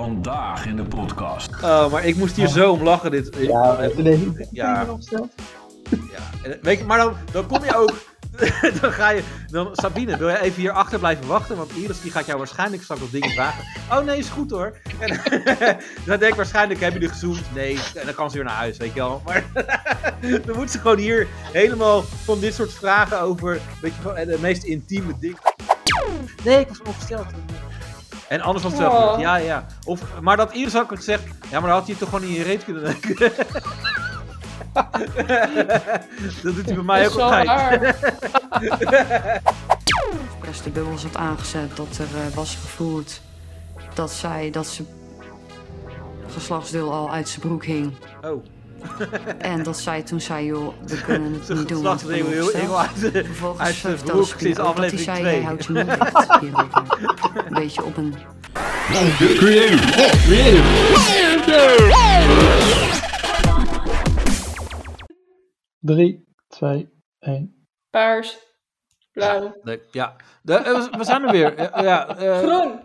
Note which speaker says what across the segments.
Speaker 1: Vandaag in de podcast.
Speaker 2: Oh, maar ik moest hier zo om lachen. Dit.
Speaker 3: Ja, even deze.
Speaker 2: Ja. Ja, en, weet je, maar dan, dan kom je ook. dan ga je. Dan, Sabine, wil jij even hier achter blijven wachten? Want Iris die gaat jou waarschijnlijk straks op dingen vragen. Oh nee, is goed hoor. En dan denk ik waarschijnlijk: hebben jullie gezoomd? Nee. En dan kan ze weer naar huis, weet je wel. Maar dan moet ze gewoon hier helemaal van dit soort vragen over. Weet je, van, eh, de meest intieme dingen. Nee, ik was ongesteld. En anders was het wel
Speaker 4: Oh.
Speaker 2: goed. Ja, ja. Of, maar dat Iris had ook gezegd. Ja, maar dan had hij het toch gewoon in je reet kunnen neuken. dat doet hij bij mij
Speaker 4: Dat
Speaker 2: ook
Speaker 4: is wel
Speaker 2: altijd.
Speaker 4: waar.
Speaker 5: Press de bubbels had aangezet, dat er eh, was gevoerd dat zij dat ze geslachtsdeel al uit zijn broek hing.
Speaker 2: Oh,
Speaker 5: En dat zij toen zei, joh, we kunnen het
Speaker 2: zijn
Speaker 5: niet doen. want ik ben
Speaker 2: geslachtsdeel heel
Speaker 5: ongesteld.
Speaker 2: heel uit.
Speaker 5: Vervolgens
Speaker 2: uit zijn
Speaker 5: vertelde
Speaker 2: broek
Speaker 5: ze
Speaker 2: sinds
Speaker 5: toen ook dat hij
Speaker 2: aflevering
Speaker 5: zei,
Speaker 2: twee.
Speaker 5: jij houdt je mond dicht hierover. eh." Een beetje op een
Speaker 1: Creative.
Speaker 3: Drie, twee, één.
Speaker 4: Paars. Blauw.
Speaker 2: Nee, ja. De- eh, we- we zijn er weer. Ja, ja, eh,
Speaker 4: Groen.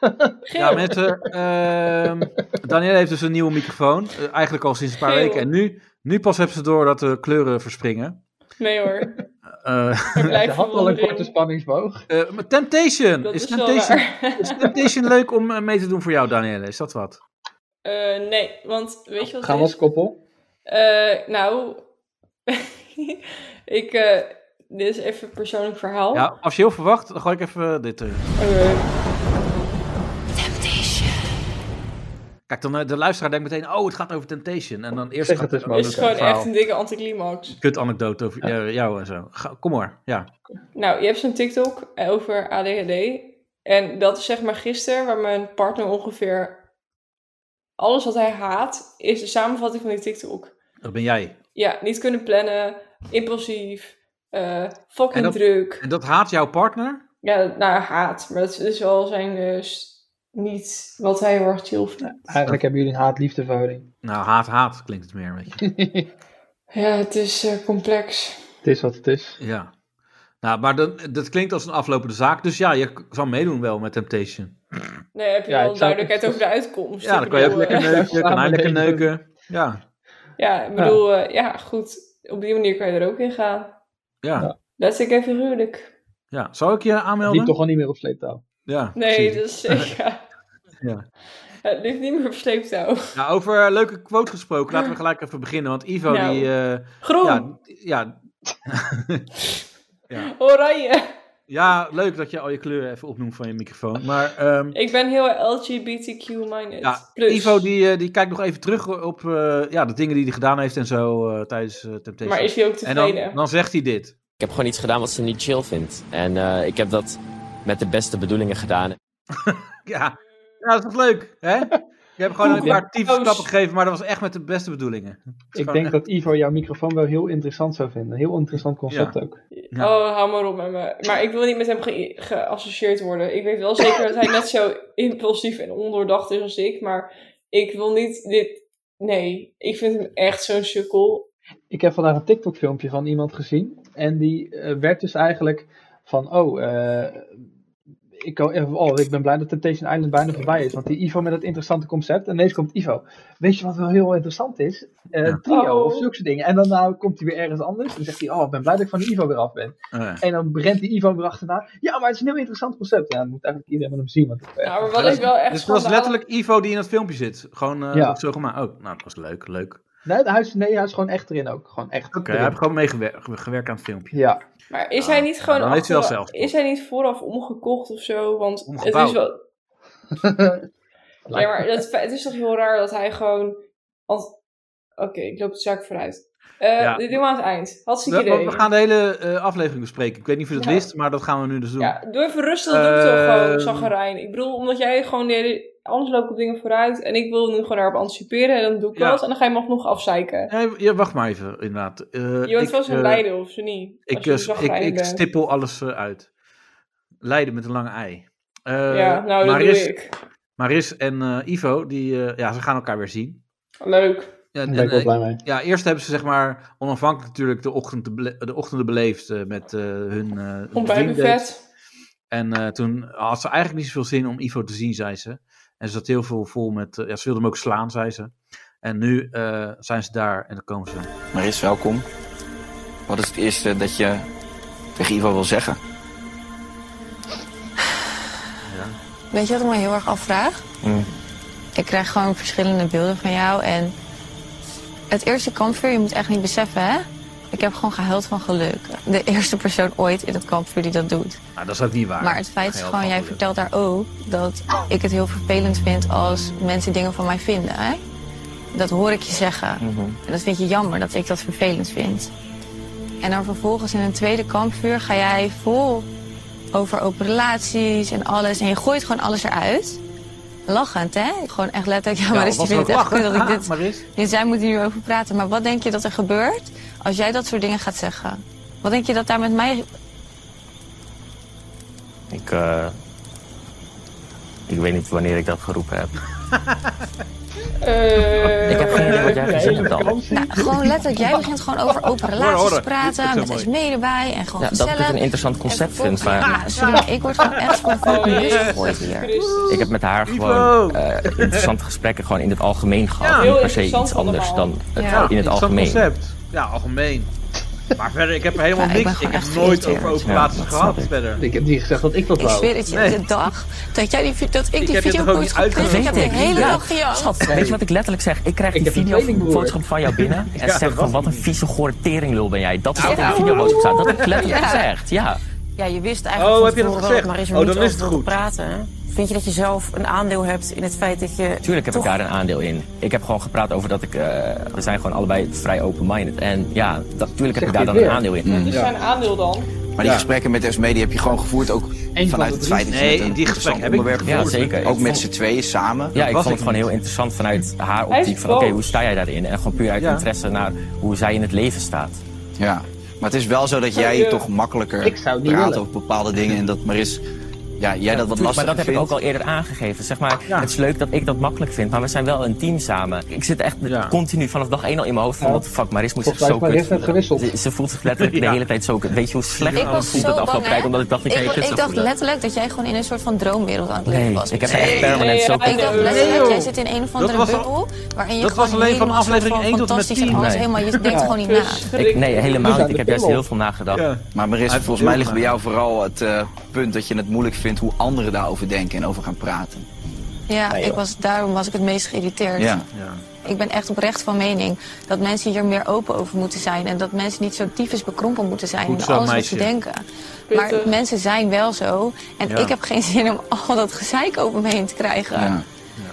Speaker 2: ja
Speaker 4: Geel.
Speaker 2: mensen. ehm Danielle heeft dus een nieuwe microfoon. eh, eigenlijk al sinds een paar
Speaker 4: Geel.
Speaker 2: weken. En nu, nu pas hebben ze door dat de kleuren verspringen.
Speaker 4: Nee hoor.
Speaker 2: Eh,
Speaker 4: Er
Speaker 3: Je
Speaker 4: blijft
Speaker 3: had al een korte
Speaker 4: verwondering.
Speaker 3: spanningsboog.
Speaker 2: eh, maar Temptation.
Speaker 4: Dat
Speaker 2: Is
Speaker 4: is wel
Speaker 2: Temptation,
Speaker 4: waar.
Speaker 2: is Temptation leuk om eh, mee te doen voor jou, Danielle? Is dat wat?
Speaker 4: Eh, nee, want weet je wat
Speaker 3: Gaan
Speaker 4: het
Speaker 3: we als
Speaker 4: is?
Speaker 3: koppel?
Speaker 4: Eh, nou, ik, eh, dit is even een persoonlijk verhaal.
Speaker 2: Ja, als je heel verwacht, dan gooi ik even eh, dit erin.
Speaker 4: Oké.
Speaker 2: Kijk, dan eh, de luisteraar denkt meteen, oh, het gaat over Temptation. En dan eerst
Speaker 3: Zeg
Speaker 2: gaat
Speaker 3: het eens,
Speaker 2: een
Speaker 3: Mona.
Speaker 4: Dit is gewoon
Speaker 2: verhaal.
Speaker 4: echt een dikke anticlimax.
Speaker 2: kut anekdote over eh, jou en zo. Ga- kom maar, ja.
Speaker 4: Nou, je hebt zo'n TikTok over ADHD. En dat is zeg maar gisteren, waar mijn partner ongeveer alles wat hij haat, is de samenvatting van die TikTok.
Speaker 2: Dat ben jij.
Speaker 4: Ja, niet kunnen plannen, impulsief, eh,
Speaker 2: En
Speaker 4: fucking
Speaker 2: dat-
Speaker 4: druk.
Speaker 2: En dat haat jouw partner?
Speaker 4: Ja, nou, haat. Maar dat is wel zijn eh, s- niet wat hij heel erg chill vindt.
Speaker 3: Eigenlijk hebben jullie een haat-liefde verhouding.
Speaker 2: Nou, haat, haat klinkt het meer, weet je.
Speaker 4: Ja, het is eh, complex.
Speaker 3: Het is wat het is.
Speaker 2: Ja. Nou, maar dan, dat klinkt als een aflopende zaak. Dus ja, je k- zou meedoen wel met Temptation.
Speaker 4: Nee, heb je
Speaker 3: Ja,
Speaker 4: wel
Speaker 3: ik zou-
Speaker 4: duidelijkheid over de uitkomst.
Speaker 2: Ja,
Speaker 4: Ik
Speaker 2: dan kan je ook
Speaker 4: bedoel,
Speaker 2: lekker
Speaker 4: eh,
Speaker 2: neuken. Kan hij
Speaker 3: samen
Speaker 2: lekker
Speaker 3: leven.
Speaker 2: neuken. Ja,
Speaker 4: Ja, ik bedoel, ja. ja, goed. Op die manier kan je er ook in gaan.
Speaker 2: ja,
Speaker 4: Let's ik even huwelijk.
Speaker 2: ja. Zou ik je
Speaker 3: Die
Speaker 2: aanmelden?
Speaker 3: toch al niet meer op sleeptouw.
Speaker 2: Ja,
Speaker 4: Nee,
Speaker 2: precies.
Speaker 4: dat is zeker.
Speaker 2: Ja.
Speaker 4: Het ligt niet meer op sleeptouw.
Speaker 2: Nou, over leuke quote gesproken, laten we gelijk even beginnen. Want Ivo,
Speaker 4: Nou.
Speaker 2: die... eh,
Speaker 4: Groen,
Speaker 2: ja, ja,
Speaker 4: oranje.
Speaker 2: ja, leuk dat je al je kleuren even opnoemt van je microfoon. Maar ehm,
Speaker 4: Ik ben heel LGBTQ-minded.
Speaker 2: Ja,
Speaker 4: Plus.
Speaker 2: Ivo die, eh, die kijkt nog even terug op eh, ja, de dingen die hij gedaan heeft en zo eh, tijdens eh, Temptation.
Speaker 4: Maar is hij ook
Speaker 2: en
Speaker 4: tevreden?
Speaker 2: dan, dan zegt hij dit.
Speaker 6: Ik heb gewoon iets gedaan wat ze niet chill vindt. En eh, ik heb dat met de beste bedoelingen gedaan.
Speaker 2: Ja, ja dat is toch leuk, hè? Je hebt gewoon een
Speaker 3: Ja.
Speaker 2: paar
Speaker 4: Oh,
Speaker 2: tieve stappen gegeven, maar dat was echt met de beste bedoelingen. is
Speaker 3: Ik
Speaker 2: gewoon
Speaker 3: denk
Speaker 2: echt-
Speaker 3: dat Ivo jouw microfoon wel heel interessant zou vinden. Heel interessant concept ook.
Speaker 2: Ja.
Speaker 4: Oh, hou maar op met me. Maar ik wil niet met hem ge- geassocieerd worden. Ik weet wel zeker dat hij net zo impulsief en ondoordacht is als ik. Maar ik wil niet dit... Nee, ik vind hem echt zo'n sukkel.
Speaker 3: Ik heb vandaag een TikTok-filmpje van iemand gezien. En die eh, werd dus eigenlijk van: Oh, eh, ik, kan- eh, oh, ik ben blij dat Temptation Island bijna voorbij is. Want die Ivo met dat interessante concept. En ineens komt Ivo. Weet je wat wel heel interessant is? Eh,
Speaker 2: Ja.
Speaker 3: Trio
Speaker 4: Oh.
Speaker 3: of zulke soort dingen. En dan nou, komt hij weer ergens anders. Dan zegt hij: Oh, ik ben blij dat ik van die Ivo weer af ben.
Speaker 2: Eh,
Speaker 3: En dan rent die Ivo weer achterna. Ja, maar het is een heel interessant concept. Ja, dat moet eigenlijk iedereen met hem zien. Want ik, eh,
Speaker 4: Nou, maar wat ik wel echt...
Speaker 2: dus dat was
Speaker 4: schandalig-
Speaker 2: letterlijk Ivo die in het filmpje zit. Gewoon eh,
Speaker 3: Ja.
Speaker 2: dat zo gemaakt. Oh, nou, dat was leuk, leuk. Oké,
Speaker 3: nee, hij is, nee, hij is gewoon echt erin ook. Gewoon echt.
Speaker 2: hij
Speaker 3: erin.
Speaker 2: heeft gewoon meegewerkt gewerkt aan het filmpje.
Speaker 3: Ja,
Speaker 4: Maar is hij niet gewoon...
Speaker 2: dan heeft hij wel
Speaker 4: achteraf-
Speaker 2: zelf.
Speaker 4: is hij niet vooraf omgekocht of zo? Want het
Speaker 2: Omgebouwd.
Speaker 4: is wel... Nee, maar dat, het is toch heel raar dat hij gewoon... als- Oké, ik loop de zaak vooruit. Eh
Speaker 2: Ja.
Speaker 4: Dit doen we aan het eind. Hartstikke
Speaker 2: We,
Speaker 4: idee.
Speaker 2: we gaan de hele eh, aflevering bespreken. Ik weet niet of je dat
Speaker 4: Ja.
Speaker 2: wist, maar dat gaan we nu dus doen.
Speaker 4: Ja, doe even rustig, doe het toch
Speaker 2: Ehm.
Speaker 4: gewoon, Zagarijn. Ik bedoel, omdat jij gewoon de hele- alles loopt op dingen vooruit en ik wil nu gewoon daarop anticiperen en dan doe ik
Speaker 2: Ja.
Speaker 4: dat en dan ga je me alsnog afzeiken.
Speaker 2: Nee, Eh, ja, wacht maar even, inderdaad. Eh,
Speaker 4: Je bent
Speaker 2: ik,
Speaker 4: wel zo'n
Speaker 2: eh,
Speaker 4: leider of zo niet?
Speaker 2: Ik,
Speaker 4: als je
Speaker 2: eh,
Speaker 4: zo
Speaker 2: ik,
Speaker 4: zagrijnig
Speaker 2: ik
Speaker 4: bent.
Speaker 2: stippel alles eh, uit. Leiden met een lange ei. Eh,
Speaker 4: ja, nou, dat
Speaker 2: Maris,
Speaker 4: doe ik.
Speaker 2: Maris en eh, Ivo, die, eh, ja, ze gaan elkaar weer zien.
Speaker 4: Leuk.
Speaker 2: Ja,
Speaker 3: daar
Speaker 2: en,
Speaker 3: ben ik wel blij
Speaker 2: eh,
Speaker 3: mee.
Speaker 2: ja, eerst hebben ze zeg maar onafhankelijk natuurlijk de, ochtend te bele- de ochtenden beleefd eh, met eh, hun eh
Speaker 4: Ontbijtbuffet.
Speaker 2: En eh, toen had ze eigenlijk niet zoveel zin om Ivo te zien, zei ze. En ze zat heel veel vol met. eh, ja, ze wilde hem ook slaan, zei ze. En nu eh, zijn ze daar en dan komen ze.
Speaker 7: Maris, welkom. Wat is het eerste dat je tegen Ivo wil zeggen?
Speaker 8: Weet je wat ik me heel erg afvraag?
Speaker 7: Mm.
Speaker 8: Ik krijg gewoon verschillende beelden van jou. En het eerste kampvuur, je moet echt niet beseffen, hè? Ik heb gewoon gehuild van geluk. De eerste persoon ooit in het kampvuur die dat doet.
Speaker 2: Nou, dat is ook niet waar.
Speaker 8: Maar het feit is
Speaker 2: Heel
Speaker 8: gewoon, jij
Speaker 2: makkelijk.
Speaker 8: vertelt daar ook dat ik het heel vervelend vind als mensen dingen van mij vinden, hè? Dat hoor ik je zeggen.
Speaker 2: Mhm.
Speaker 8: En dat vind je jammer dat ik dat vervelend vind. En dan vervolgens in een tweede kampvuur ga jij vol over open relaties en alles. En je gooit gewoon alles eruit. Lachend, hè? Gewoon echt letterlijk. Ja, maar is
Speaker 2: was
Speaker 8: die
Speaker 2: er
Speaker 8: vindt
Speaker 2: ook
Speaker 8: het
Speaker 2: lachen?
Speaker 8: echt kut dat ik
Speaker 2: Ah,
Speaker 8: dit...
Speaker 2: Maris?
Speaker 8: Dus zij moeten hier over praten. Maar wat denk je dat er gebeurt als jij dat soort dingen gaat zeggen? Wat denk je dat daar met mij...
Speaker 6: Ik, eh, ik weet niet wanneer ik dat geroepen heb.
Speaker 4: Eh,
Speaker 6: Ik heb geen idee wat jij gezegd hebt al.
Speaker 8: Nou, gewoon letterlijk. Jij begint gewoon over open relaties te praten. Met SME erbij. En gewoon
Speaker 6: Ja, dat ik
Speaker 8: gezellig.
Speaker 6: het een interessant concept vind, maar
Speaker 8: Ja, sorry, maar ik word gewoon echt voor
Speaker 4: Oh,
Speaker 8: fucking bus
Speaker 4: Jezus
Speaker 8: gegooid hier.
Speaker 4: Christus.
Speaker 6: Ik heb met haar
Speaker 2: Ivo!
Speaker 6: gewoon eh, interessante gesprekken gewoon in het algemeen gehad.
Speaker 2: Ja.
Speaker 6: niet per se
Speaker 4: Heel
Speaker 6: iets anders dan
Speaker 4: interessant
Speaker 6: het,
Speaker 8: Ja.
Speaker 6: in het
Speaker 2: Interessant
Speaker 6: algemeen.
Speaker 2: concept. Ja, algemeen. Maar verder, ik heb er helemaal
Speaker 8: Ja, ik ben
Speaker 2: niks. Ik
Speaker 8: gewoon
Speaker 2: heb
Speaker 8: echt
Speaker 2: nooit over
Speaker 8: geïrriteerd.
Speaker 2: operaties
Speaker 6: Ja, dat
Speaker 2: gehad
Speaker 6: snap ik.
Speaker 2: verder.
Speaker 3: Ik heb niet gezegd dat ik dat
Speaker 8: Ik
Speaker 3: wou.
Speaker 8: zweer het je,
Speaker 2: Nee.
Speaker 8: de dag dat, jij die, vi- dat ik, die
Speaker 2: heb je
Speaker 8: video
Speaker 2: toch ook
Speaker 8: post
Speaker 2: niet
Speaker 8: op Twitter, ik heb de
Speaker 6: uitgenodigd?
Speaker 8: hele
Speaker 6: Ja.
Speaker 8: dag gejankt.
Speaker 6: Schat, weet je wat ik letterlijk zeg? Ik krijg
Speaker 3: Ik
Speaker 6: die
Speaker 3: heb een tweelingbroer.
Speaker 6: videoboodschap van jou binnen en
Speaker 2: dat
Speaker 6: zeg
Speaker 2: was
Speaker 6: van wat een
Speaker 2: het
Speaker 6: vieze gore teringlul ben jij. Dat is wat in die
Speaker 8: Ja.
Speaker 6: videoboodschap staat. Dat heb ik letterlijk
Speaker 8: Ja.
Speaker 6: gezegd, ja.
Speaker 9: Ja, je wist eigenlijk
Speaker 2: Oh,
Speaker 9: van
Speaker 2: heb je dat
Speaker 9: tevoren wel
Speaker 2: gezegd?
Speaker 9: maar is er
Speaker 2: Oh,
Speaker 9: niet
Speaker 2: dan is
Speaker 9: over
Speaker 2: het
Speaker 9: wilde
Speaker 2: goed.
Speaker 9: praten. hè? Vind je dat je zelf een aandeel hebt in het feit dat je...
Speaker 6: Tuurlijk heb
Speaker 9: toch...
Speaker 6: ik daar een aandeel in. Ik heb gewoon gepraat over dat ik... eh, we zijn gewoon allebei vrij open-minded. En ja, dat, tuurlijk heb ik daar
Speaker 3: dit
Speaker 6: dan een
Speaker 3: weer.
Speaker 6: aandeel in.
Speaker 4: Dus zijn aandeel dan?
Speaker 7: Maar die gesprekken met Esme, die heb je gewoon gevoerd ook
Speaker 3: de
Speaker 7: vanuit het
Speaker 3: drie.
Speaker 7: feit dat je
Speaker 2: Nee,
Speaker 7: met een
Speaker 2: die
Speaker 7: interessant
Speaker 2: gesprekken heb ik
Speaker 7: onderwerp
Speaker 2: niet
Speaker 6: Ja,
Speaker 7: voert.
Speaker 6: zeker. Ik
Speaker 7: Ook met
Speaker 6: vond-
Speaker 7: z'n tweeën samen.
Speaker 6: Ja, ik
Speaker 2: was
Speaker 6: vond het
Speaker 2: ik
Speaker 6: gewoon
Speaker 2: niet.
Speaker 6: heel interessant vanuit haar
Speaker 4: Hij is
Speaker 6: optiek. Van oké,
Speaker 4: boos.
Speaker 6: hoe sta jij daarin? En gewoon puur uit
Speaker 2: Ja.
Speaker 6: interesse naar hoe zij in het leven staat.
Speaker 7: Ja. Maar het is wel zo dat jij
Speaker 4: eh,
Speaker 7: toch makkelijker
Speaker 3: ik zou het niet
Speaker 7: praat
Speaker 3: willen.
Speaker 7: over bepaalde dingen. En dat Maris, ja, jij dat wat
Speaker 6: Tuurlijk,
Speaker 7: lastiger
Speaker 6: maar dat heb ik ook
Speaker 7: vindt.
Speaker 6: al eerder aangegeven. Zeg maar,
Speaker 2: Ja.
Speaker 6: Het is leuk dat ik dat makkelijk vind, maar we zijn wel een team samen. Ik zit echt
Speaker 2: Ja.
Speaker 6: continu vanaf dag één al in mijn hoofd van...
Speaker 3: Ja.
Speaker 6: wat de fuck, Maris moet zich
Speaker 3: Volgens mij
Speaker 6: zo
Speaker 3: heeft Maris
Speaker 6: kut
Speaker 3: net
Speaker 6: voelen.
Speaker 3: gewisseld.
Speaker 6: Ze, ze voelt zich letterlijk
Speaker 2: Ja.
Speaker 6: de hele tijd zo kut. Weet je hoe slecht
Speaker 8: Ik
Speaker 6: ik me
Speaker 8: was
Speaker 6: voelde
Speaker 8: zo
Speaker 6: dat
Speaker 8: bang,
Speaker 6: afgelopen
Speaker 8: hè?
Speaker 6: tijd? Omdat ik dacht, ik ga je
Speaker 8: Ik,
Speaker 6: kut
Speaker 8: ik
Speaker 6: zo
Speaker 8: dacht
Speaker 6: voelen.
Speaker 8: letterlijk dat jij gewoon in een soort van droomwereld aan het leven
Speaker 6: Nee, ik
Speaker 8: was.
Speaker 6: heb
Speaker 8: misschien.
Speaker 6: echt permanent
Speaker 4: Nee,
Speaker 6: zo
Speaker 4: hij eh,
Speaker 8: Ik dacht
Speaker 4: Nee,
Speaker 8: letterlijk,
Speaker 2: joh.
Speaker 8: jij zit in een of andere
Speaker 2: Dat was
Speaker 8: bubbel. Waarin je
Speaker 2: dat
Speaker 8: gewoon
Speaker 2: was alleen van
Speaker 8: helemaal soort
Speaker 2: aflevering
Speaker 8: van
Speaker 2: 1 tot en met
Speaker 8: fantastisch en
Speaker 2: 10.
Speaker 8: alles
Speaker 6: Nee.
Speaker 8: helemaal, je denkt gewoon niet na.
Speaker 6: Ik,
Speaker 4: Verschrikkelijk.
Speaker 6: nee, helemaal
Speaker 3: zijn
Speaker 6: niet. Ik heb
Speaker 3: de
Speaker 6: juist
Speaker 3: pillen.
Speaker 6: heel veel nagedacht.
Speaker 2: Ja.
Speaker 7: Maar Maris,
Speaker 2: Hij heeft
Speaker 7: volgens mij
Speaker 2: heel
Speaker 7: ligt bij jou vooral het eh, punt dat je het moeilijk vindt hoe anderen daarover denken en over gaan praten.
Speaker 8: Ja, ik was, daarom was ik het meest geïrriteerd.
Speaker 7: Ja.
Speaker 2: Ja.
Speaker 8: Ik ben echt oprecht van mening dat mensen hier meer open over moeten zijn. En dat mensen niet zo tyfus bekrompen moeten zijn
Speaker 2: Goed
Speaker 8: in
Speaker 2: zo,
Speaker 8: alles wat
Speaker 2: meisje.
Speaker 8: ze denken. Maar
Speaker 4: Pittig.
Speaker 8: mensen zijn wel zo. En
Speaker 2: Ja.
Speaker 8: ik heb geen zin om al dat gezeik over me heen te krijgen.
Speaker 7: Ja.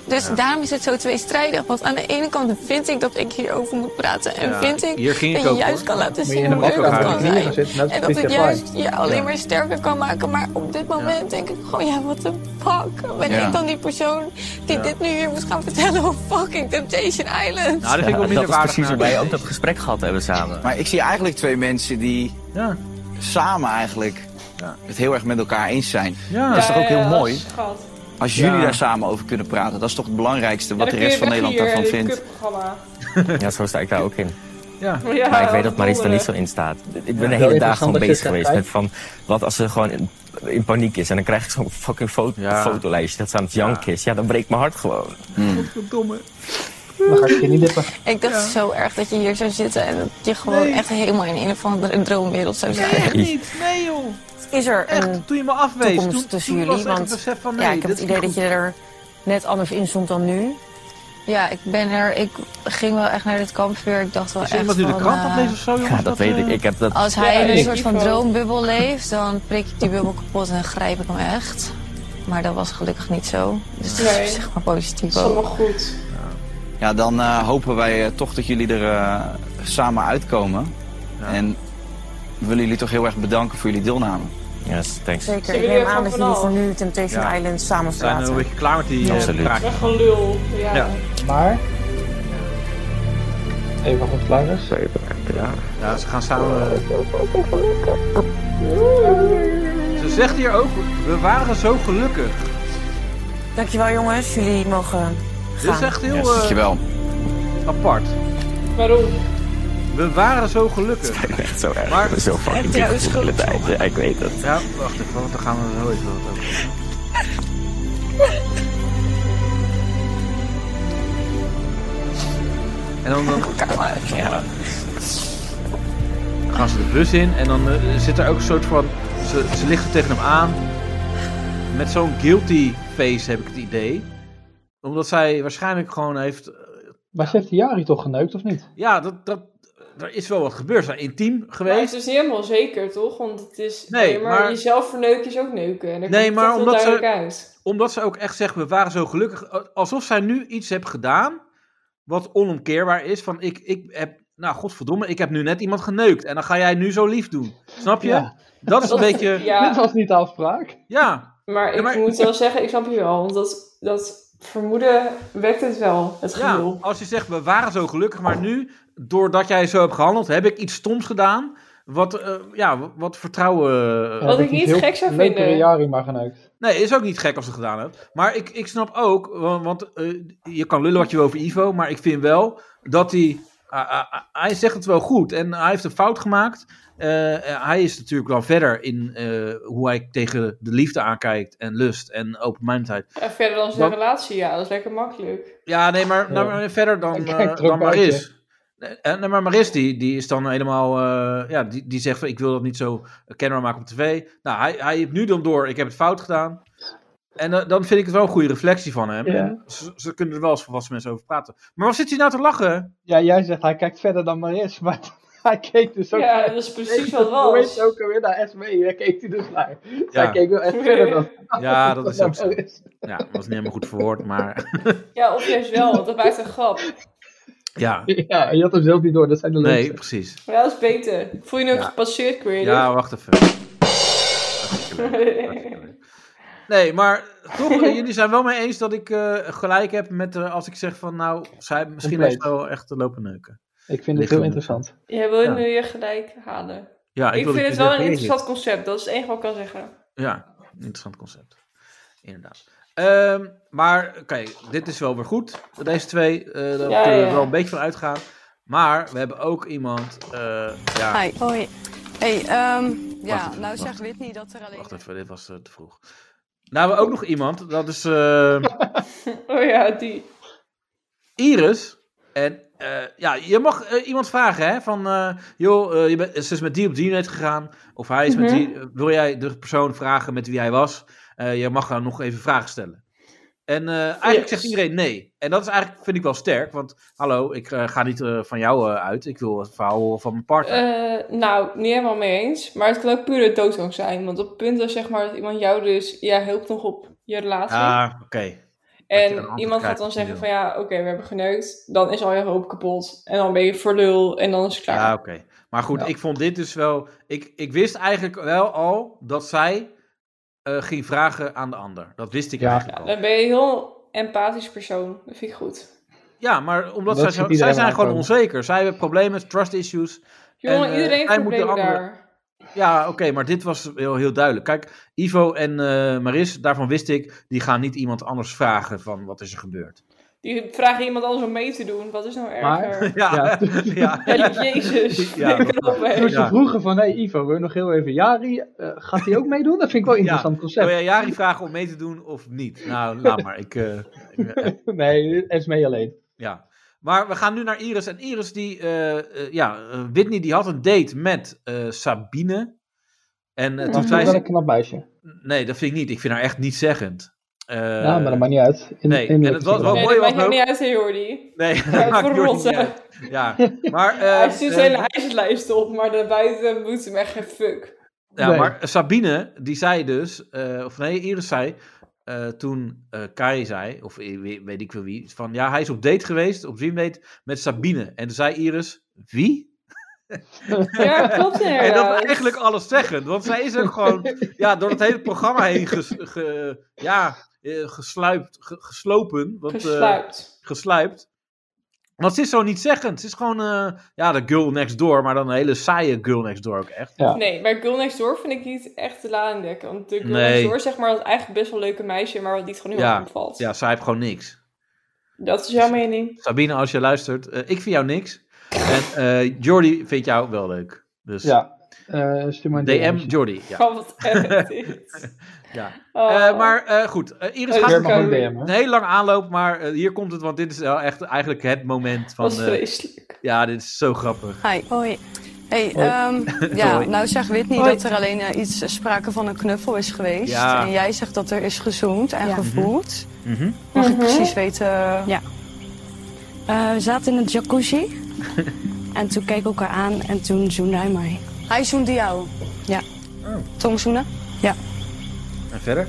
Speaker 8: Dus daarom is het zo tweestrijdig. Want aan de ene kant vind ik dat ik hierover moet praten. En
Speaker 2: Ja,
Speaker 8: vind ik
Speaker 2: hier ging
Speaker 8: dat
Speaker 2: ik
Speaker 8: je
Speaker 2: ook,
Speaker 8: juist
Speaker 2: hoor.
Speaker 8: kan laten
Speaker 3: je in
Speaker 8: zien
Speaker 3: een
Speaker 8: hoe leuk
Speaker 3: bakker
Speaker 8: het
Speaker 3: gaan
Speaker 8: kan
Speaker 3: knieën gaan
Speaker 8: zijn.
Speaker 3: zitten, dat
Speaker 8: En
Speaker 3: is
Speaker 8: dat ik
Speaker 3: precies
Speaker 8: juist je alleen
Speaker 2: Ja.
Speaker 8: maar sterker kan maken. Maar op dit moment denk ik gewoon, ja, wat de fuck. Ben
Speaker 7: Ja.
Speaker 8: ik dan die persoon die dit nu hier moet gaan vertellen over fucking Temptation
Speaker 2: Nou,
Speaker 8: Island?
Speaker 2: dat vind ik
Speaker 6: Ja,
Speaker 2: wel
Speaker 6: dat
Speaker 2: minder
Speaker 6: is
Speaker 2: waardig.
Speaker 6: precies hoe wij
Speaker 2: naar-
Speaker 6: ook dat gesprek gehad hebben samen.
Speaker 7: Maar ik zie eigenlijk twee mensen die
Speaker 2: Ja.
Speaker 7: samen eigenlijk
Speaker 2: Ja.
Speaker 7: het heel erg met elkaar eens zijn.
Speaker 2: Ja.
Speaker 7: Dat is toch ook heel
Speaker 4: ja,
Speaker 7: mooi?
Speaker 4: dat is schat.
Speaker 7: Als jullie
Speaker 2: Ja.
Speaker 7: daar samen over kunnen praten, dat is toch het belangrijkste
Speaker 4: Ja,
Speaker 7: wat
Speaker 4: dan kun
Speaker 7: de
Speaker 4: je
Speaker 7: rest van
Speaker 4: weg
Speaker 7: Nederland
Speaker 4: hier eh,
Speaker 7: daarvan
Speaker 4: in dit
Speaker 7: vindt.
Speaker 4: kutprogramma.
Speaker 6: Ja, zo sta ik daar ook in.
Speaker 2: Ja.
Speaker 4: Ja,
Speaker 6: Maar ik weet dat
Speaker 4: wat
Speaker 6: Maris er niet zo
Speaker 4: wonderen.
Speaker 6: in staat. Ik
Speaker 3: Ja,
Speaker 6: ben de
Speaker 3: heel
Speaker 6: hele dag
Speaker 3: interessant
Speaker 6: gewoon
Speaker 3: dat je
Speaker 6: bezig
Speaker 3: het zegt,
Speaker 6: geweest met
Speaker 3: hè?
Speaker 6: van... wat als ze gewoon in, in paniek is en dan krijg ik zo'n fucking foto,
Speaker 2: Ja.
Speaker 6: fotolijstje dat ze aan het janken is. Ja, dan breekt mijn hart gewoon.
Speaker 2: Verdomme.
Speaker 3: Dan ga ik je niet dippen.
Speaker 8: Ik dacht zo erg dat je hier zou zitten. En dat je gewoon echt helemaal in een of andere droomwereld zou zijn.
Speaker 2: Echt niet. Nee, joh.
Speaker 9: Is er een
Speaker 2: Echt, toen je me afwees.
Speaker 9: toekomst
Speaker 2: Toen,
Speaker 9: tussen
Speaker 2: toen was
Speaker 9: jullie?
Speaker 2: echt het
Speaker 9: Want
Speaker 2: besef van nee,
Speaker 9: ja, ik
Speaker 2: dit
Speaker 9: heb het
Speaker 2: is
Speaker 9: idee dat
Speaker 2: niet
Speaker 9: je er net anders in stond dan nu.
Speaker 8: Ja, ik ben er. Ik ging wel echt naar dit kampvuur. Ik dacht wel
Speaker 2: goed. Is er iemand
Speaker 8: echt
Speaker 2: nu de
Speaker 8: van,
Speaker 2: krant aan
Speaker 8: eh,
Speaker 2: deze of zo, jongens?
Speaker 6: Ja, dat weet
Speaker 2: eh,
Speaker 6: ik. Ik heb dat...
Speaker 8: Als hij
Speaker 4: Ja,
Speaker 8: in een
Speaker 4: nee,
Speaker 8: soort van
Speaker 4: Ivo.
Speaker 8: droombubbel leeft, dan prik ik die bubbel kapot en grijp ik hem echt. Maar dat was gelukkig niet zo. Dus dat
Speaker 4: Nee.
Speaker 8: is zeg maar positief
Speaker 4: Dat is allemaal
Speaker 8: ook.
Speaker 4: goed.
Speaker 7: Ja, dan eh, hopen wij eh, toch dat jullie er eh, samen uitkomen. En we willen jullie toch heel erg bedanken voor jullie deelname.
Speaker 6: Yes, thanks.
Speaker 9: Zeker.
Speaker 4: Zullen
Speaker 9: Ik
Speaker 4: jullie
Speaker 9: neem aan
Speaker 4: gewoon
Speaker 9: dat jullie
Speaker 4: vanaf?
Speaker 9: voor nu Temptation
Speaker 2: Ja.
Speaker 9: Island samen
Speaker 2: We zijn eh,
Speaker 9: verlaten.
Speaker 2: een beetje klaar met die eh,
Speaker 6: Absoluut.
Speaker 2: praatjes.
Speaker 4: Weg een lul. Ja.
Speaker 2: Ja.
Speaker 3: Maar. Even goed klaar is.
Speaker 2: Ja, ze gaan samen. eh. Ze zegt hier ook, we waren zo gelukkig.
Speaker 9: Dankjewel jongens, jullie mogen
Speaker 2: Dit is
Speaker 9: gaan.
Speaker 2: echt heel
Speaker 6: Yes.
Speaker 2: eh,
Speaker 7: Dankjewel.
Speaker 2: apart.
Speaker 4: Waarom?
Speaker 2: We waren zo gelukkig.
Speaker 6: Echt zo erg.
Speaker 2: Maar-
Speaker 6: Ik ben zo fucking
Speaker 8: Ja,
Speaker 6: dicht de hele tijd. Ja, ik weet het.
Speaker 2: Ja, wacht even, want dan gaan we zo even wat over. En dan, dan gaan ze de bus in en dan eh, zit er ook een soort van... Ze, ze lichten tegen hem aan. Met zo'n guilty face heb ik het idee. Omdat zij waarschijnlijk gewoon heeft...
Speaker 3: Maar ze heeft die Jari toch geneukt, of niet?
Speaker 2: Ja, dat, dat, er is wel wat gebeurd. Ze zijn intiem
Speaker 4: Maar het
Speaker 2: geweest.
Speaker 4: is niet helemaal zeker, toch? Want het is...
Speaker 2: Nee,
Speaker 4: maar,
Speaker 2: maar-
Speaker 4: jezelf verneuken is ook neuken. En daar
Speaker 2: Nee,
Speaker 4: komt
Speaker 2: maar
Speaker 4: toch heel
Speaker 2: omdat ze-
Speaker 4: duidelijk uit.
Speaker 2: Omdat ze ook echt zegt, we waren zo gelukkig. Alsof zij nu iets heeft gedaan wat onomkeerbaar is. Van ik, ik heb, nou godverdomme, ik heb nu net iemand geneukt. En dan ga jij nu zo lief doen. Snap je?
Speaker 3: Ja.
Speaker 2: Dat is een beetje, ja.
Speaker 3: Dat
Speaker 4: Ja,
Speaker 3: was niet de afspraak.
Speaker 4: maar ik
Speaker 2: maar-
Speaker 4: moet wel zeggen, ik snap je wel. Want dat, dat vermoeden wekt het wel, het
Speaker 2: ja.
Speaker 4: gevoel.
Speaker 2: Als je zegt, we waren zo gelukkig, maar nu, doordat jij zo hebt gehandeld, heb ik iets stoms gedaan. Wat, eh, ja, wat vertrouwen... eh,
Speaker 4: Wat ik niet gek zou vinden.
Speaker 3: Ik Jari maar geneukt.
Speaker 2: Nee, is ook niet gek als ze het gedaan hebt. Maar ik, ik snap ook, want, want, eh, je kan lullen wat je wil over Ivo, maar ik vind wel dat hij. ah, ah, ah, hij zegt het wel goed en hij heeft een fout gemaakt. Eh, eh, hij is natuurlijk wel verder in eh, hoe hij tegen de liefde aankijkt en lust en openmindedheid.
Speaker 4: En verder dan zijn
Speaker 2: Wat-
Speaker 4: relatie, ja, dat is lekker makkelijk.
Speaker 2: Ja, nee, maar, nou,
Speaker 3: Ja.
Speaker 2: maar verder dan,
Speaker 3: Hij
Speaker 2: eh,
Speaker 3: kijkt er ook
Speaker 2: dan
Speaker 3: buiten.
Speaker 2: Maris. Nee, eh, nee, maar Maris die, die is dan helemaal, eh, ja, die, die zegt van, ik wil dat niet zo eh, kenbaar maken op tv. Nou, hij, hij heeft nu dan door, ik heb het fout gedaan. En eh, dan vind ik het wel een goede reflectie van hem.
Speaker 3: Ja.
Speaker 2: En ze, ze kunnen er wel als volwassen mensen over praten. Maar waar zit hij nou te lachen?
Speaker 3: Ja, jij zegt hij kijkt verder dan Maris, maar hij keek dus ook...
Speaker 4: Ja, dat is precies wat het
Speaker 3: Hoe heet
Speaker 4: was.
Speaker 3: ze ook alweer naar SME, daar keek hij dus naar. Dus hij keek wel echt verder dan
Speaker 2: Ja, dat is ook zo.
Speaker 3: Maris.
Speaker 2: Ja, dat was niet helemaal goed verwoord, maar
Speaker 4: Ja, of juist wel, want dat maakt een grap.
Speaker 2: ja.
Speaker 3: Ja, je had hem zelf niet door, dat zijn de
Speaker 2: Nee,
Speaker 3: leukste.
Speaker 2: precies.
Speaker 4: Maar dat is beter. Voel je nu ook
Speaker 2: Ja.
Speaker 4: gepasseerd, Creative?
Speaker 2: Ja, wacht even. Hartstikke leuk, hartstikke leuk. Nee, maar toch, eh, jullie zijn wel mee eens dat ik eh, gelijk heb met eh, als ik zeg van nou, zij misschien
Speaker 3: Compleet.
Speaker 2: heeft ze wel echt te lopen neuken.
Speaker 3: Ik vind het
Speaker 2: Lichaam.
Speaker 3: heel interessant.
Speaker 4: Jij wil je
Speaker 2: Ja.
Speaker 4: nu je gelijk halen.
Speaker 2: Ja,
Speaker 4: Ik,
Speaker 2: wil dus
Speaker 4: vind
Speaker 2: dat
Speaker 4: het wel
Speaker 2: je zegt,
Speaker 4: een
Speaker 2: weet Ah, ik
Speaker 4: interessant concept, dat is het enige wat ik kan zeggen.
Speaker 2: niet. Ja, interessant concept. Inderdaad. Ehm, maar oké, dit is wel weer goed. Deze twee, eh, daar
Speaker 4: Ja,
Speaker 2: kunnen we
Speaker 4: ja.
Speaker 2: wel een beetje van uitgaan. Maar we hebben ook iemand. eh, ja,
Speaker 5: Hi.
Speaker 8: Hoi.
Speaker 5: Hey, ehm, ja, nou
Speaker 2: even, wacht
Speaker 5: zegt
Speaker 2: even.
Speaker 5: Whitney dat er alleen...
Speaker 2: wacht even, dit was eh, te vroeg. Nou, we hebben ook nog iemand. Dat is. eh,
Speaker 4: Oh ja, die.
Speaker 2: Iris. En eh, ja, je mag eh, iemand vragen, hè? Van, eh, joh, eh, je bent, ze is met die op die net gegaan. Of hij is met
Speaker 4: Mhm.
Speaker 2: die. eh, Wil jij de persoon vragen met wie hij was? Eh, je mag haar nog even vragen stellen. En eh, eigenlijk
Speaker 4: Yes.
Speaker 2: zegt iedereen nee. En dat is eigenlijk, vind ik wel sterk. Want, hallo, ik eh, ga niet eh, van jou eh, uit. Ik wil het verhaal horen van mijn partner.
Speaker 4: Eh, nou, niet helemaal mee eens. Maar het kan ook pure doodgang zijn. Want op het punt dat, zeg maar, dat iemand jou dus... Ja, helpt nog op je relatie.
Speaker 2: ah, oké. dat je een
Speaker 4: en
Speaker 2: antwoord
Speaker 4: iemand gaat
Speaker 2: krijgt,
Speaker 4: dan zeggen
Speaker 2: ja.
Speaker 4: van... Ja, oké, we hebben geneukt. Dan is al je hoop kapot. En dan ben je voor lul. En dan is het klaar.
Speaker 2: Ja, oké. Maar goed,
Speaker 3: Ja.
Speaker 2: ik vond dit dus wel. Ik, ik wist eigenlijk wel al dat zij eh, ging vragen aan de ander. Dat wist ik
Speaker 3: Ja.
Speaker 2: eigenlijk al.
Speaker 4: Dan ben je een heel empathisch persoon. Dat vind ik goed.
Speaker 2: Ja, maar
Speaker 3: Dat
Speaker 2: omdat zij,
Speaker 3: ziet
Speaker 2: zo- zij
Speaker 3: iedereen
Speaker 2: zijn gewoon
Speaker 3: aankomen.
Speaker 2: onzeker. Zij hebben problemen, trust issues.
Speaker 4: Jongen,
Speaker 2: En, eh,
Speaker 4: iedereen
Speaker 2: hij
Speaker 4: heeft
Speaker 2: moet de
Speaker 4: problemen
Speaker 2: andere-
Speaker 4: daar.
Speaker 2: Ja, oké, maar dit was heel, heel duidelijk. Kijk, Ivo en eh, Maris, daarvan wist ik, die gaan niet iemand anders vragen van wat is er gebeurd.
Speaker 4: Die vragen iemand anders om mee te doen. Wat is nou
Speaker 3: Maar-
Speaker 4: erger?
Speaker 2: Ja, ja.
Speaker 4: Ja, jezus.
Speaker 2: Ja,
Speaker 4: flikker
Speaker 2: dat-
Speaker 4: op, hè.
Speaker 3: Toen ze
Speaker 2: Ja.
Speaker 3: vroegen van, hey Ivo, wil je nog heel even Jari? eh, gaat hij ook meedoen? Dat vind ik wel een
Speaker 2: Ja. Oh
Speaker 3: interessant
Speaker 2: Wil
Speaker 3: concept.
Speaker 2: jij Jari vragen om mee te doen of niet? Nou, laat maar. Ik, eh, ik, eh,
Speaker 3: Nee, SME alleen.
Speaker 2: ja. Maar we gaan nu naar Iris. En Iris, die, eh, eh, ja, eh, Whitney, die had een date met eh, Sabine. En eh, toen
Speaker 3: Maar het
Speaker 2: zei
Speaker 3: is wel een
Speaker 2: ze...
Speaker 3: knap meisje.
Speaker 2: Nee, dat vind ik niet. Ik vind haar echt nietzeggend. Eh,
Speaker 3: ja, Nou, maar dat maakt niet uit. In,
Speaker 2: nee,
Speaker 3: in-
Speaker 2: en het was wel-
Speaker 4: Nee,
Speaker 2: mooi
Speaker 4: dat
Speaker 2: was
Speaker 4: maakt jou
Speaker 2: ook-
Speaker 4: niet uit, hè, Jordi.
Speaker 2: Nee,
Speaker 4: Ja,
Speaker 2: maakt Jordi niet
Speaker 4: verrot, hè.
Speaker 2: uit. Ja, maar, eh,
Speaker 4: Hij dus stuurt
Speaker 2: eh,
Speaker 4: zijn lijst op, maar daarbuiten moet hem echt geen fuck.
Speaker 2: ja,
Speaker 3: Nee.
Speaker 2: maar Sabine, die zei dus, eh, of nee, Iris zei, eh, toen eh, Kai zei, of i- wie- weet ik wel wie, van ja, hij is op date geweest, op date met Sabine. En toen zei Iris, wie?
Speaker 4: Ja, klopt inderdaad.
Speaker 2: En dat is eigenlijk alles zeggen, want zij is ook gewoon, ja, door het hele programma heen ges, ge- ja, eh, gesluipt, ge- geslopen. Want, eh,
Speaker 4: Gesluipt.
Speaker 2: geslijpt. Want ze is zo niet zeggend. Ze is gewoon, eh, ja, de girl next door, maar dan een hele saaie girl next door ook echt.
Speaker 3: ja.
Speaker 4: Nee, bij Girl Next Door vind ik niet echt de lading dekken. Want de Girl
Speaker 2: Nee.
Speaker 4: Next Door, zeg maar, dat eigenlijk best wel leuke meisje, maar wat niet gewoon heel
Speaker 2: Ja,
Speaker 4: erg opvalt.
Speaker 2: Ja, zij heeft gewoon niks.
Speaker 4: Dat is jouw mening.
Speaker 2: Sabine, als je luistert, eh, ik vind jou niks. En eh Jordi vindt jou wel leuk. Dus
Speaker 3: Ja. Eh, stuur maar een
Speaker 2: DM Jordi. Ja.
Speaker 4: Kan wat echt is.
Speaker 2: Ja.
Speaker 4: Oh.
Speaker 2: Eh, maar eh, goed, Eh, Iris
Speaker 4: Oh,
Speaker 2: gaat
Speaker 3: Weer
Speaker 4: Weer mag
Speaker 2: een
Speaker 3: mag
Speaker 4: ook
Speaker 3: ook
Speaker 4: ook
Speaker 3: DM,
Speaker 4: DM,
Speaker 3: hè?
Speaker 2: hele lange aanloop, maar eh, hier komt het, want dit is wel echt eigenlijk het moment van...
Speaker 4: Wat
Speaker 2: eh,
Speaker 4: vreselijk.
Speaker 2: ja, dit is zo grappig.
Speaker 8: Hi. Hoi. Hey,
Speaker 3: Hoi.
Speaker 8: ehm, ja,
Speaker 2: Hoi.
Speaker 8: nou zegt Whitney
Speaker 4: Hoi.
Speaker 8: dat er alleen eh, iets eh, sprake van een knuffel is geweest.
Speaker 2: Ja.
Speaker 8: En jij zegt dat er is gezoend en
Speaker 10: Ja.
Speaker 8: gevoeld.
Speaker 2: Mhm.
Speaker 8: Mag ik
Speaker 4: Mhm.
Speaker 8: precies weten?
Speaker 10: Eh, we zaten in een jacuzzi. en toen keek ik elkaar aan en toen zoende hij mij.
Speaker 8: Hij zoende jou.
Speaker 10: Ja.
Speaker 8: Tongzoenen.
Speaker 2: En verder?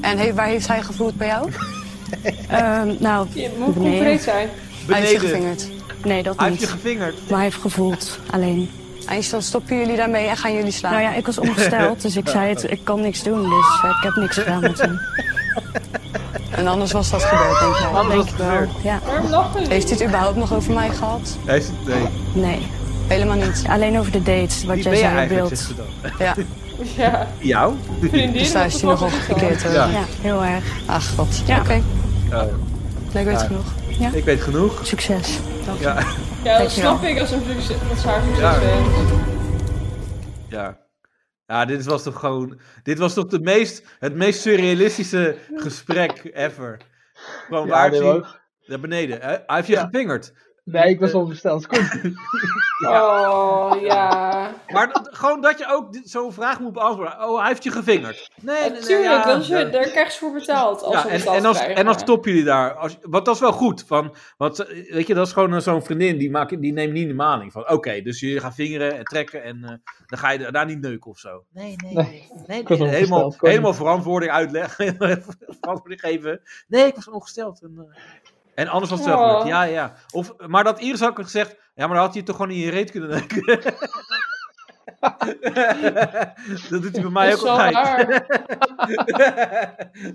Speaker 8: En he- waar heeft hij gevoeld bij jou?
Speaker 10: Ehm, nou,
Speaker 4: Je moet
Speaker 10: beneden.
Speaker 4: concreet zijn.
Speaker 8: Hij heeft je
Speaker 2: Beneden.
Speaker 8: gevingerd.
Speaker 10: nee, dat
Speaker 2: Hij heeft je
Speaker 10: niet.
Speaker 2: gevingerd.
Speaker 10: Maar hij heeft gevoeld, alleen.
Speaker 8: Eindstand stoppen jullie daarmee en gaan jullie slapen.
Speaker 10: Nou ja, ik was ongesteld, dus ik zei het, ik kan niks doen, dus eh, ik heb niks gedaan met hem.
Speaker 8: En anders was dat gebeurd, denk jij.
Speaker 2: Alles was
Speaker 10: ik wel.
Speaker 2: gebeurd.
Speaker 10: Ja,
Speaker 4: Waarom lachen jullie?
Speaker 8: Heeft hij het überhaupt nog over mij gehad?
Speaker 2: Hij is- nee,
Speaker 10: nee.
Speaker 8: Helemaal niet.
Speaker 10: Alleen over de dates, wat
Speaker 2: wie
Speaker 10: jij
Speaker 2: ben je
Speaker 10: zei in
Speaker 2: eigenlijk,
Speaker 10: beeld.
Speaker 2: zegt ze dan.
Speaker 8: Ja,
Speaker 4: Ja,
Speaker 2: Jou?
Speaker 4: vriendin.
Speaker 8: dus daar is hij nogal gekeerd. hoor.
Speaker 2: Ja.
Speaker 10: Ja, heel erg.
Speaker 8: Ach god.
Speaker 10: Ja.
Speaker 8: Oké,
Speaker 2: Oh,
Speaker 8: leuk weet
Speaker 2: Ja.
Speaker 8: genoeg.
Speaker 2: ik weet genoeg.
Speaker 10: Succes.
Speaker 2: Ja,
Speaker 4: Ja, dat
Speaker 8: Dankjewel.
Speaker 4: snap ik als een succes, als haar
Speaker 2: Ja.
Speaker 4: succes bent.
Speaker 2: ja. Ja, dit was toch gewoon... Dit was toch de meest, het meest surrealistische gesprek ever. Gewoon
Speaker 3: Ja,
Speaker 2: waar
Speaker 3: dit
Speaker 2: zie-
Speaker 3: ook.
Speaker 2: Naar beneden. hè? Hij heeft je
Speaker 3: Ja.
Speaker 2: gevingerd.
Speaker 3: Nee, ik was ongesteld. Kom.
Speaker 4: Oh, ja.
Speaker 2: Maar dat- gewoon dat je ook dit- zo'n vraag moet beantwoorden. Oh, hij heeft je gevingerd. Nee, nee, nee,
Speaker 4: Natuurlijk,
Speaker 2: eh, ja.
Speaker 4: dat is, daar krijg je voor betaald. Als
Speaker 2: Ja,
Speaker 4: ze
Speaker 2: en,
Speaker 4: betaald
Speaker 2: en, als,
Speaker 4: krijgen.
Speaker 2: en dan stoppen jullie daar. Als, want dat is wel goed. Van, want, eh, weet je, dat is gewoon eh, zo'n vriendin. Die, maakt, die neemt niet de maling. Van, oké, dus je gaat vingeren en trekken. En eh, dan ga je daarna niet neuken of zo. Nee, nee,
Speaker 3: Nee,
Speaker 2: nee,
Speaker 3: was ongesteld,
Speaker 2: helemaal,
Speaker 3: kon niet.
Speaker 2: helemaal verantwoording uitleggen. verantwoording geven. Nee, ik was ongesteld. En, eh, en anders was het wel
Speaker 4: Oh.
Speaker 2: gelukt. Ja, ja. Of, maar dat Iris had gezegd. Ja, maar dan had hij toch gewoon in je reet kunnen neuken. dat doet hij bij mij
Speaker 4: Dat
Speaker 2: ook
Speaker 4: is wel
Speaker 2: altijd.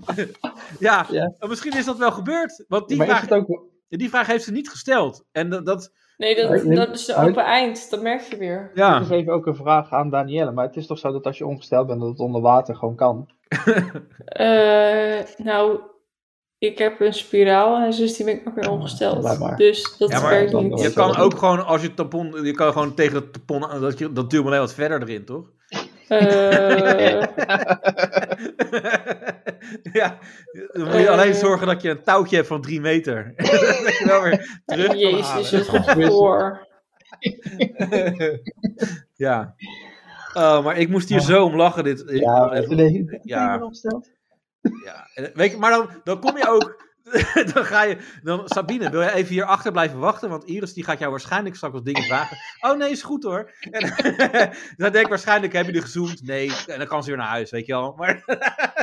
Speaker 4: waar.
Speaker 2: ja,
Speaker 3: Ja.
Speaker 2: maar misschien is dat wel gebeurd. Want die
Speaker 3: maar is
Speaker 2: vraag,
Speaker 3: het ook...
Speaker 2: die vraag heeft ze niet gesteld. En dat, dat-
Speaker 4: Nee, dat, dat is de
Speaker 3: Hij-
Speaker 4: open eind. Dat merk je weer.
Speaker 3: Dit
Speaker 2: ja.
Speaker 3: is even ook een vraag aan Danielle. Maar het is toch zo dat als je ongesteld bent, dat het onder water gewoon kan?
Speaker 4: Eh, nou, ik heb een spiraal en dus die ben ik ook weer
Speaker 3: laat
Speaker 4: ongesteld.
Speaker 3: maar.
Speaker 4: Dus dat
Speaker 2: Ja, maar
Speaker 4: werkt
Speaker 3: dan-
Speaker 4: niet.
Speaker 3: dan-
Speaker 2: Je kan ook gewoon, als je het tampon, je kan gewoon tegen het tampon, aan- dat, je, dat duwt maar alleen wat verder erin, toch?
Speaker 4: Eh,
Speaker 2: ja, dan moet je
Speaker 4: Eh.
Speaker 2: alleen zorgen dat je een touwtje hebt van drie meter. dat je wel weer terug kan
Speaker 4: jezus,
Speaker 2: halen.
Speaker 4: dat is goor.
Speaker 2: Ja. Oh, maar ik moest hier zo om lachen. Dit,
Speaker 3: Ja, nee. Ben
Speaker 2: Ja.
Speaker 3: je ongesteld?
Speaker 2: Ja, en- weet je, maar dan, dan kom je ook. Dan ga je. Dan, Sabine, wil je even hier achter blijven wachten? Want Iris die gaat jou waarschijnlijk straks wat dingen vragen. Oh nee, is goed hoor. En, dan denk ik waarschijnlijk: heb je er gezoend? Nee. En dan kan ze weer naar huis, weet je wel. Maar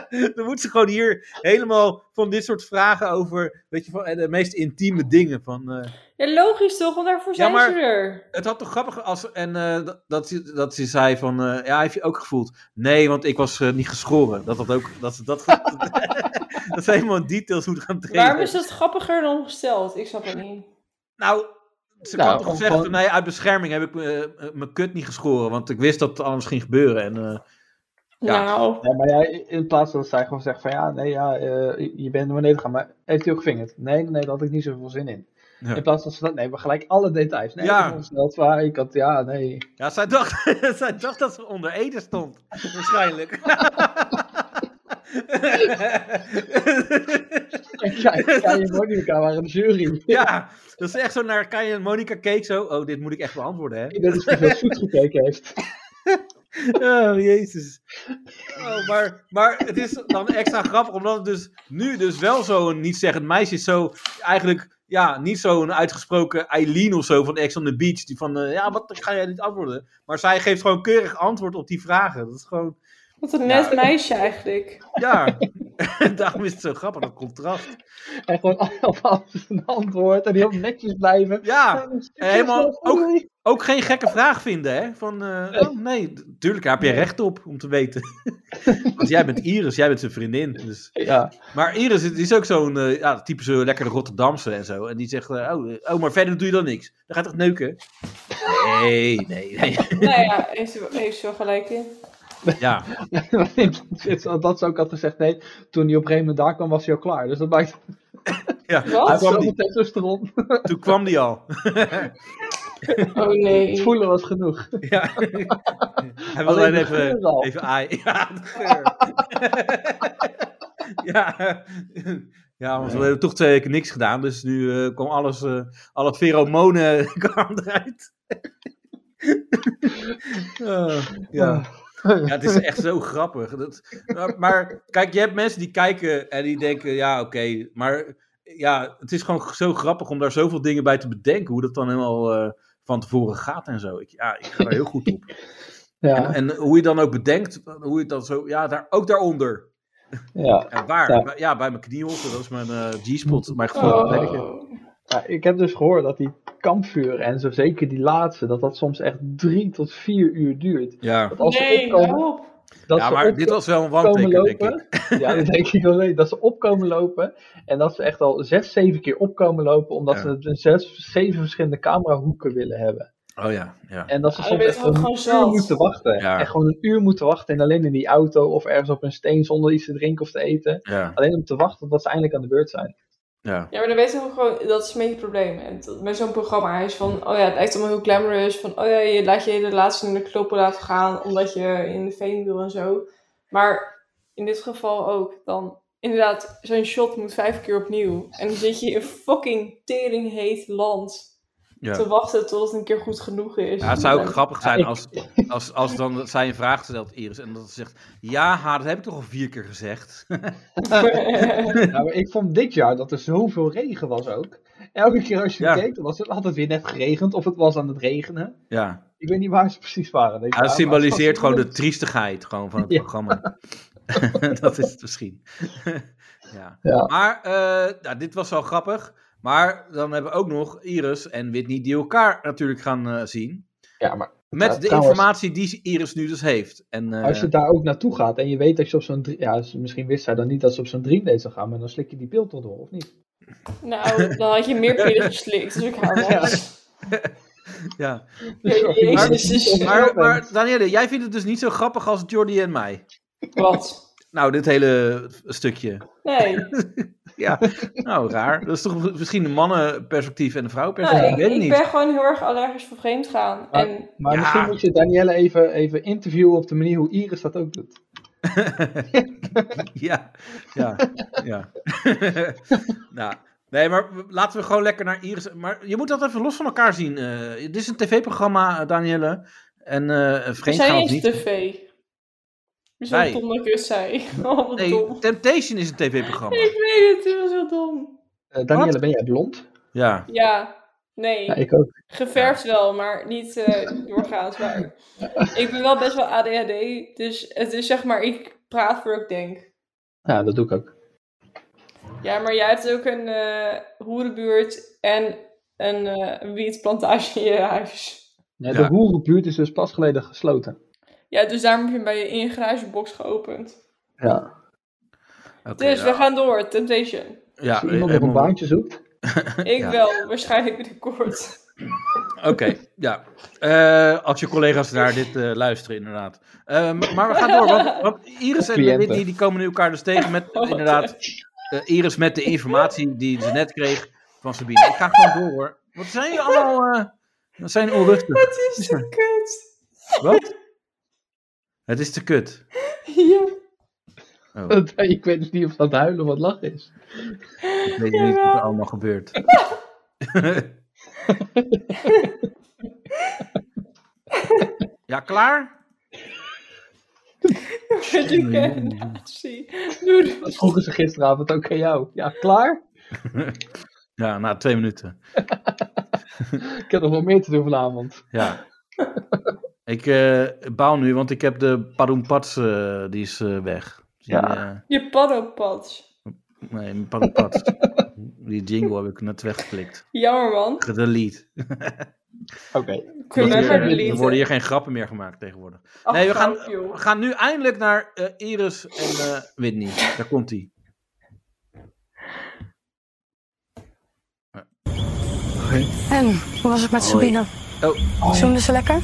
Speaker 2: dan moet ze gewoon hier helemaal van dit soort vragen over. Weet je, van eh, de meest intieme dingen. Van, eh,
Speaker 4: Ja, logisch toch, want daarvoor zijn
Speaker 2: maar-
Speaker 4: ze er.
Speaker 2: het had toch grappig als. En eh, dat- dat, ze- dat ze zei van. eh, ja, heb je ook gevoeld? Nee, want ik was eh, niet geschoren. Dat dat ook. Dat ze dat. dat ze helemaal in details moet gaan trainen.
Speaker 4: Waarom is dat grappiger dan ongesteld? Ik snap het niet.
Speaker 2: Nou, ze
Speaker 3: Nou,
Speaker 2: kan toch
Speaker 3: gewoon-
Speaker 2: zeggen.
Speaker 3: gewoon-
Speaker 2: Nee, uit bescherming heb ik eh, eh, mijn kut niet geschoren. Want ik wist dat het anders ging gebeuren. En, eh, Ja.
Speaker 4: Nou,
Speaker 3: Ja, maar ja, in plaats dat zij gewoon zegt van ja, nee, ja, eh, je bent naar beneden gegaan, maar heeft hij ook gevingerd? Nee, nee, daar had ik niet zoveel zin in.
Speaker 2: Ja.
Speaker 3: In plaats dat ze dat, nee, maar gelijk alle details. Nee,
Speaker 2: Ja.
Speaker 3: ik was ongesteld, waar ik had, ja, nee.
Speaker 2: ja, zij dacht, zij dacht dat ze onder eten stond. Waarschijnlijk.
Speaker 3: En kijk, kijk, je Monica waren in de jury.
Speaker 2: ja, dat is echt zo naar Kai en Monica keek zo. Oh, dit moet ik echt beantwoorden, hè?
Speaker 3: Dat is hoeveel goed gekeken heeft.
Speaker 2: Oh, jezus. Oh, maar, maar het is dan extra grappig, omdat het dus nu dus wel zo'n niet-zeggend meisje is. Zo eigenlijk, ja, niet zo'n uitgesproken Eileen of zo van Ex on the Beach. Die van, eh, ja, wat ga jij niet antwoorden? Maar zij geeft gewoon keurig antwoord op die vragen. Dat is gewoon,
Speaker 4: Wat een net meisje eigenlijk.
Speaker 2: ja. Daarom is het zo grappig, dat contrast.
Speaker 3: En gewoon op alles een antwoord en heel netjes blijven.
Speaker 2: Ja, en helemaal ook, ook geen gekke vraag vinden, hè? Van, eh, oh, nee, tuurlijk, daar heb je recht op om te weten. Want jij bent Iris, jij bent zijn vriendin, dus...
Speaker 3: Ja,
Speaker 2: Maar Iris die is ook zo'n eh, ja, typische lekkere Rotterdamse en zo. En die zegt, eh, oh, eh, oh, maar verder doe je dan niks. Dan gaat het neuken. Nee, nee, nee.
Speaker 4: nou ja, heeft ze, heeft ze wel gelijk in.
Speaker 2: Ja,
Speaker 3: dat ze ook had gezegd, nee, toen hij op een gegeven moment daar kwam, was hij al klaar. Dus dat maakt
Speaker 2: ja.
Speaker 4: Wat?
Speaker 3: hij kwam
Speaker 2: die-
Speaker 3: op testosteron.
Speaker 2: toen kwam die al.
Speaker 4: Oh nee.
Speaker 3: Het voelen was genoeg.
Speaker 2: Ja. Hij wil
Speaker 3: Alleen
Speaker 2: alleen
Speaker 3: de geur
Speaker 2: even,
Speaker 3: al.
Speaker 2: even aaien. Ja, de geur. ja. ja, want we hebben toch twee weken niks gedaan. Dus nu eh, kwam alles, eh, alle pheromonen kwam eruit. Eh,
Speaker 3: Oh,
Speaker 2: ja. ja, het is echt zo grappig. Dat, maar, maar kijk, je hebt mensen die kijken en die denken, ja oké, maar ja, het is gewoon zo grappig om daar zoveel dingen bij te bedenken. Hoe dat dan helemaal eh, van tevoren gaat en zo. Ik, ja, ik ga daar heel goed op.
Speaker 3: Ja.
Speaker 2: En hoe je dan ook bedenkt, hoe je het dan zo, ja, daar, ook daaronder.
Speaker 3: Ja.
Speaker 2: En waar?
Speaker 3: Ja.
Speaker 2: Ja, bij mijn knieholte, dat is mijn eh, G-spot, mijn gevoel.
Speaker 3: Oh. Ja, ik heb dus gehoord dat die kampvuren en zo zeker die laatste, dat dat soms echt drie tot vier uur duurt.
Speaker 2: Ja,
Speaker 3: Dat als ze
Speaker 4: Nee,
Speaker 3: opkomen-
Speaker 4: hou op.
Speaker 3: dat
Speaker 2: ja
Speaker 3: ze
Speaker 2: maar
Speaker 3: op-
Speaker 2: dit was wel een
Speaker 3: opkomen
Speaker 2: wanteken, denk
Speaker 3: lopen.
Speaker 2: ik.
Speaker 3: Ja, dat denk ik wel leuk. Dat ze opkomen lopen en dat ze echt al zes, zeven keer opkomen lopen, omdat
Speaker 2: Ja.
Speaker 3: ze het in zes, zeven verschillende camerahoeken willen hebben.
Speaker 2: Oh ja, ja.
Speaker 3: En dat ze
Speaker 4: Ah,
Speaker 3: soms
Speaker 4: dan
Speaker 3: echt
Speaker 4: ben je
Speaker 3: een
Speaker 4: toch
Speaker 3: uur
Speaker 4: gewoon zat?
Speaker 3: moeten wachten.
Speaker 2: Ja.
Speaker 3: Echt gewoon een uur moeten wachten en alleen in die auto of ergens op een steen zonder iets te drinken of te eten.
Speaker 2: ja,
Speaker 3: Alleen om te wachten totdat ze eindelijk aan de beurt zijn.
Speaker 2: ja.
Speaker 4: Ja, maar dan weet je wel gewoon, dat is een beetje het probleem. En dat- Met zo'n programma, hij is van, oh ja, het lijkt allemaal heel glamorous. Van, oh ja, je laat je de laatste in de knoppen laten gaan, omdat je in de fame wil en zo. Maar in dit geval ook, dan inderdaad, zo'n shot moet vijf keer opnieuw. En dan zit je in fucking teringheet land te
Speaker 2: ja.
Speaker 4: wachten tot het een keer goed genoeg is.
Speaker 2: Ja, het zou ook
Speaker 4: En-
Speaker 2: grappig zijn als, als, als dan zij een vraag stelt, Iris, en dat ze zegt, ja, ha, dat heb ik toch al vier keer gezegd.
Speaker 3: Nou, maar ik vond dit jaar dat er zoveel regen was ook. Elke keer als je
Speaker 2: Ja.
Speaker 3: keek, dan was het altijd weer net geregend of het was aan het regenen.
Speaker 2: Ja,
Speaker 3: Ik weet niet waar ze precies waren. Deze
Speaker 2: ja dat
Speaker 3: jaar, maar het was
Speaker 2: symboliseert gewoon de
Speaker 3: leuk.
Speaker 2: triestigheid gewoon van het
Speaker 3: Ja.
Speaker 2: programma. dat is het misschien. ja.
Speaker 3: Ja.
Speaker 2: Maar eh, nou, dit was wel grappig. Maar dan hebben we ook nog Iris en Whitney die elkaar natuurlijk gaan eh, zien.
Speaker 3: Ja, maar
Speaker 2: Met
Speaker 3: Ja,
Speaker 2: de
Speaker 3: trouwens-
Speaker 2: informatie die Iris nu dus heeft. En, eh,
Speaker 3: als je daar ook naartoe gaat en je weet dat je op zo'n... drie- Ja, ze- misschien wist zij dan niet dat ze op zo'n dream day zou gaan, maar dan slik je die pil toch door, of niet?
Speaker 4: Nou, dan had je meer pillen geslikt, dus ik haar was.
Speaker 2: ja.
Speaker 4: Jezus, dus,
Speaker 2: maar, maar Danielle, jij vindt het dus niet zo grappig als Jordi en mij.
Speaker 4: wat?
Speaker 2: Nou, dit hele stukje.
Speaker 4: Nee.
Speaker 2: Ja, nou raar. Dat is toch misschien een mannenperspectief en een vrouwenperspectief?
Speaker 4: Nou, ik,
Speaker 2: ik weet het
Speaker 4: ik
Speaker 2: niet.
Speaker 4: ben gewoon heel erg allergisch voor vreemd gaan.
Speaker 3: Maar-
Speaker 4: En
Speaker 3: Maar
Speaker 2: Ja.
Speaker 3: misschien moet je Danielle even, even interviewen op de manier hoe Iris dat ook doet.
Speaker 2: Ja, ja, ja. nou, nee, maar w- laten we gewoon lekker naar Iris. Maar je moet dat even los van elkaar zien. Eh, dit is een tv-programma, eh, Danielle. En eh
Speaker 4: we
Speaker 2: vreemd
Speaker 4: zijn
Speaker 2: gaan of
Speaker 4: niet
Speaker 2: niet.
Speaker 4: tv. We zijn
Speaker 2: Nee.
Speaker 4: dom dat ik het zei. Oh, wat
Speaker 2: Nee,
Speaker 4: dom.
Speaker 2: Temptation is een tv-programma.
Speaker 4: Ik weet het, het was heel dom.
Speaker 3: Eh Danielle,
Speaker 2: Wat?
Speaker 3: ben jij blond?
Speaker 2: Ja.
Speaker 4: Ja, nee.
Speaker 3: Ja, ik ook.
Speaker 4: Geverfd wel, maar niet eh, doorgaans. Maar ik ben wel best wel ADHD. Dus het is zeg maar, ik praat voor ik denk.
Speaker 3: Ja, dat doe ik ook.
Speaker 4: Ja, maar jij hebt ook een eh, hoerenbuurt en een eh, wietplantage in je huis.
Speaker 3: Ja,
Speaker 2: Ja.
Speaker 3: De hoerenbuurt is dus pas geleden gesloten.
Speaker 4: Ja, dus daarom heb je hem bij je in je garagebox geopend.
Speaker 3: Ja.
Speaker 2: oké, nou.
Speaker 4: Dus
Speaker 2: ja.
Speaker 4: we gaan door, Temptation.
Speaker 2: Ja, eh,
Speaker 3: Als je iemand nog
Speaker 2: helemaal-
Speaker 3: een baantje zoekt,
Speaker 4: Ik
Speaker 2: Ja.
Speaker 4: wel, waarschijnlijk binnenkort.
Speaker 2: Oké, ja. Eh, als je collega's naar dit eh, luisteren, inderdaad. Eh, m- maar we gaan door, want, want Iris en
Speaker 3: Cliënten.
Speaker 2: Whitney die komen nu elkaar dus tegen
Speaker 4: Oh,
Speaker 2: met eh, inderdaad eh, Iris met de informatie die ze net kreeg van Sabine. Ik ga gewoon door hoor. Wat zijn jullie allemaal? eh wat zijn jullie onrustig?
Speaker 4: Het is de kut.
Speaker 2: Wat? Het is te kut.
Speaker 4: Ja,
Speaker 2: Oh,
Speaker 3: Want ik weet dus niet of dat huilen of wat lachen is.
Speaker 2: ik weet niet wat er allemaal gebeurt. ja, klaar?
Speaker 4: met die combinatie. Doe dit.
Speaker 3: Dat vroegen ze gisteravond ook aan jou. Ja, klaar?
Speaker 2: Ja, na twee minuten.
Speaker 3: Ik heb nog wel meer te doen vanavond.
Speaker 2: Ja. ik eh baal nu, want ik heb de Paroempats, eh die is eh, weg. Die,
Speaker 3: Ja.
Speaker 2: eh,
Speaker 4: Je paddenpads.
Speaker 2: nee, mijn Paroempats. die jingle heb ik net weggeklikt.
Speaker 4: Jammer man.
Speaker 2: Gedelete.
Speaker 3: Oké.
Speaker 4: Kunnen
Speaker 2: Dat
Speaker 4: we
Speaker 2: hier-
Speaker 4: maar
Speaker 2: Er worden hier geen grappen meer gemaakt tegenwoordig. nee, we gaan, we gaan nu eindelijk naar eh, Iris en eh, Whitney. Daar komt hij.
Speaker 10: En, hoe was het met
Speaker 2: Hoi.
Speaker 10: Sabine?
Speaker 2: Oh.
Speaker 10: Zoemde ze lekker?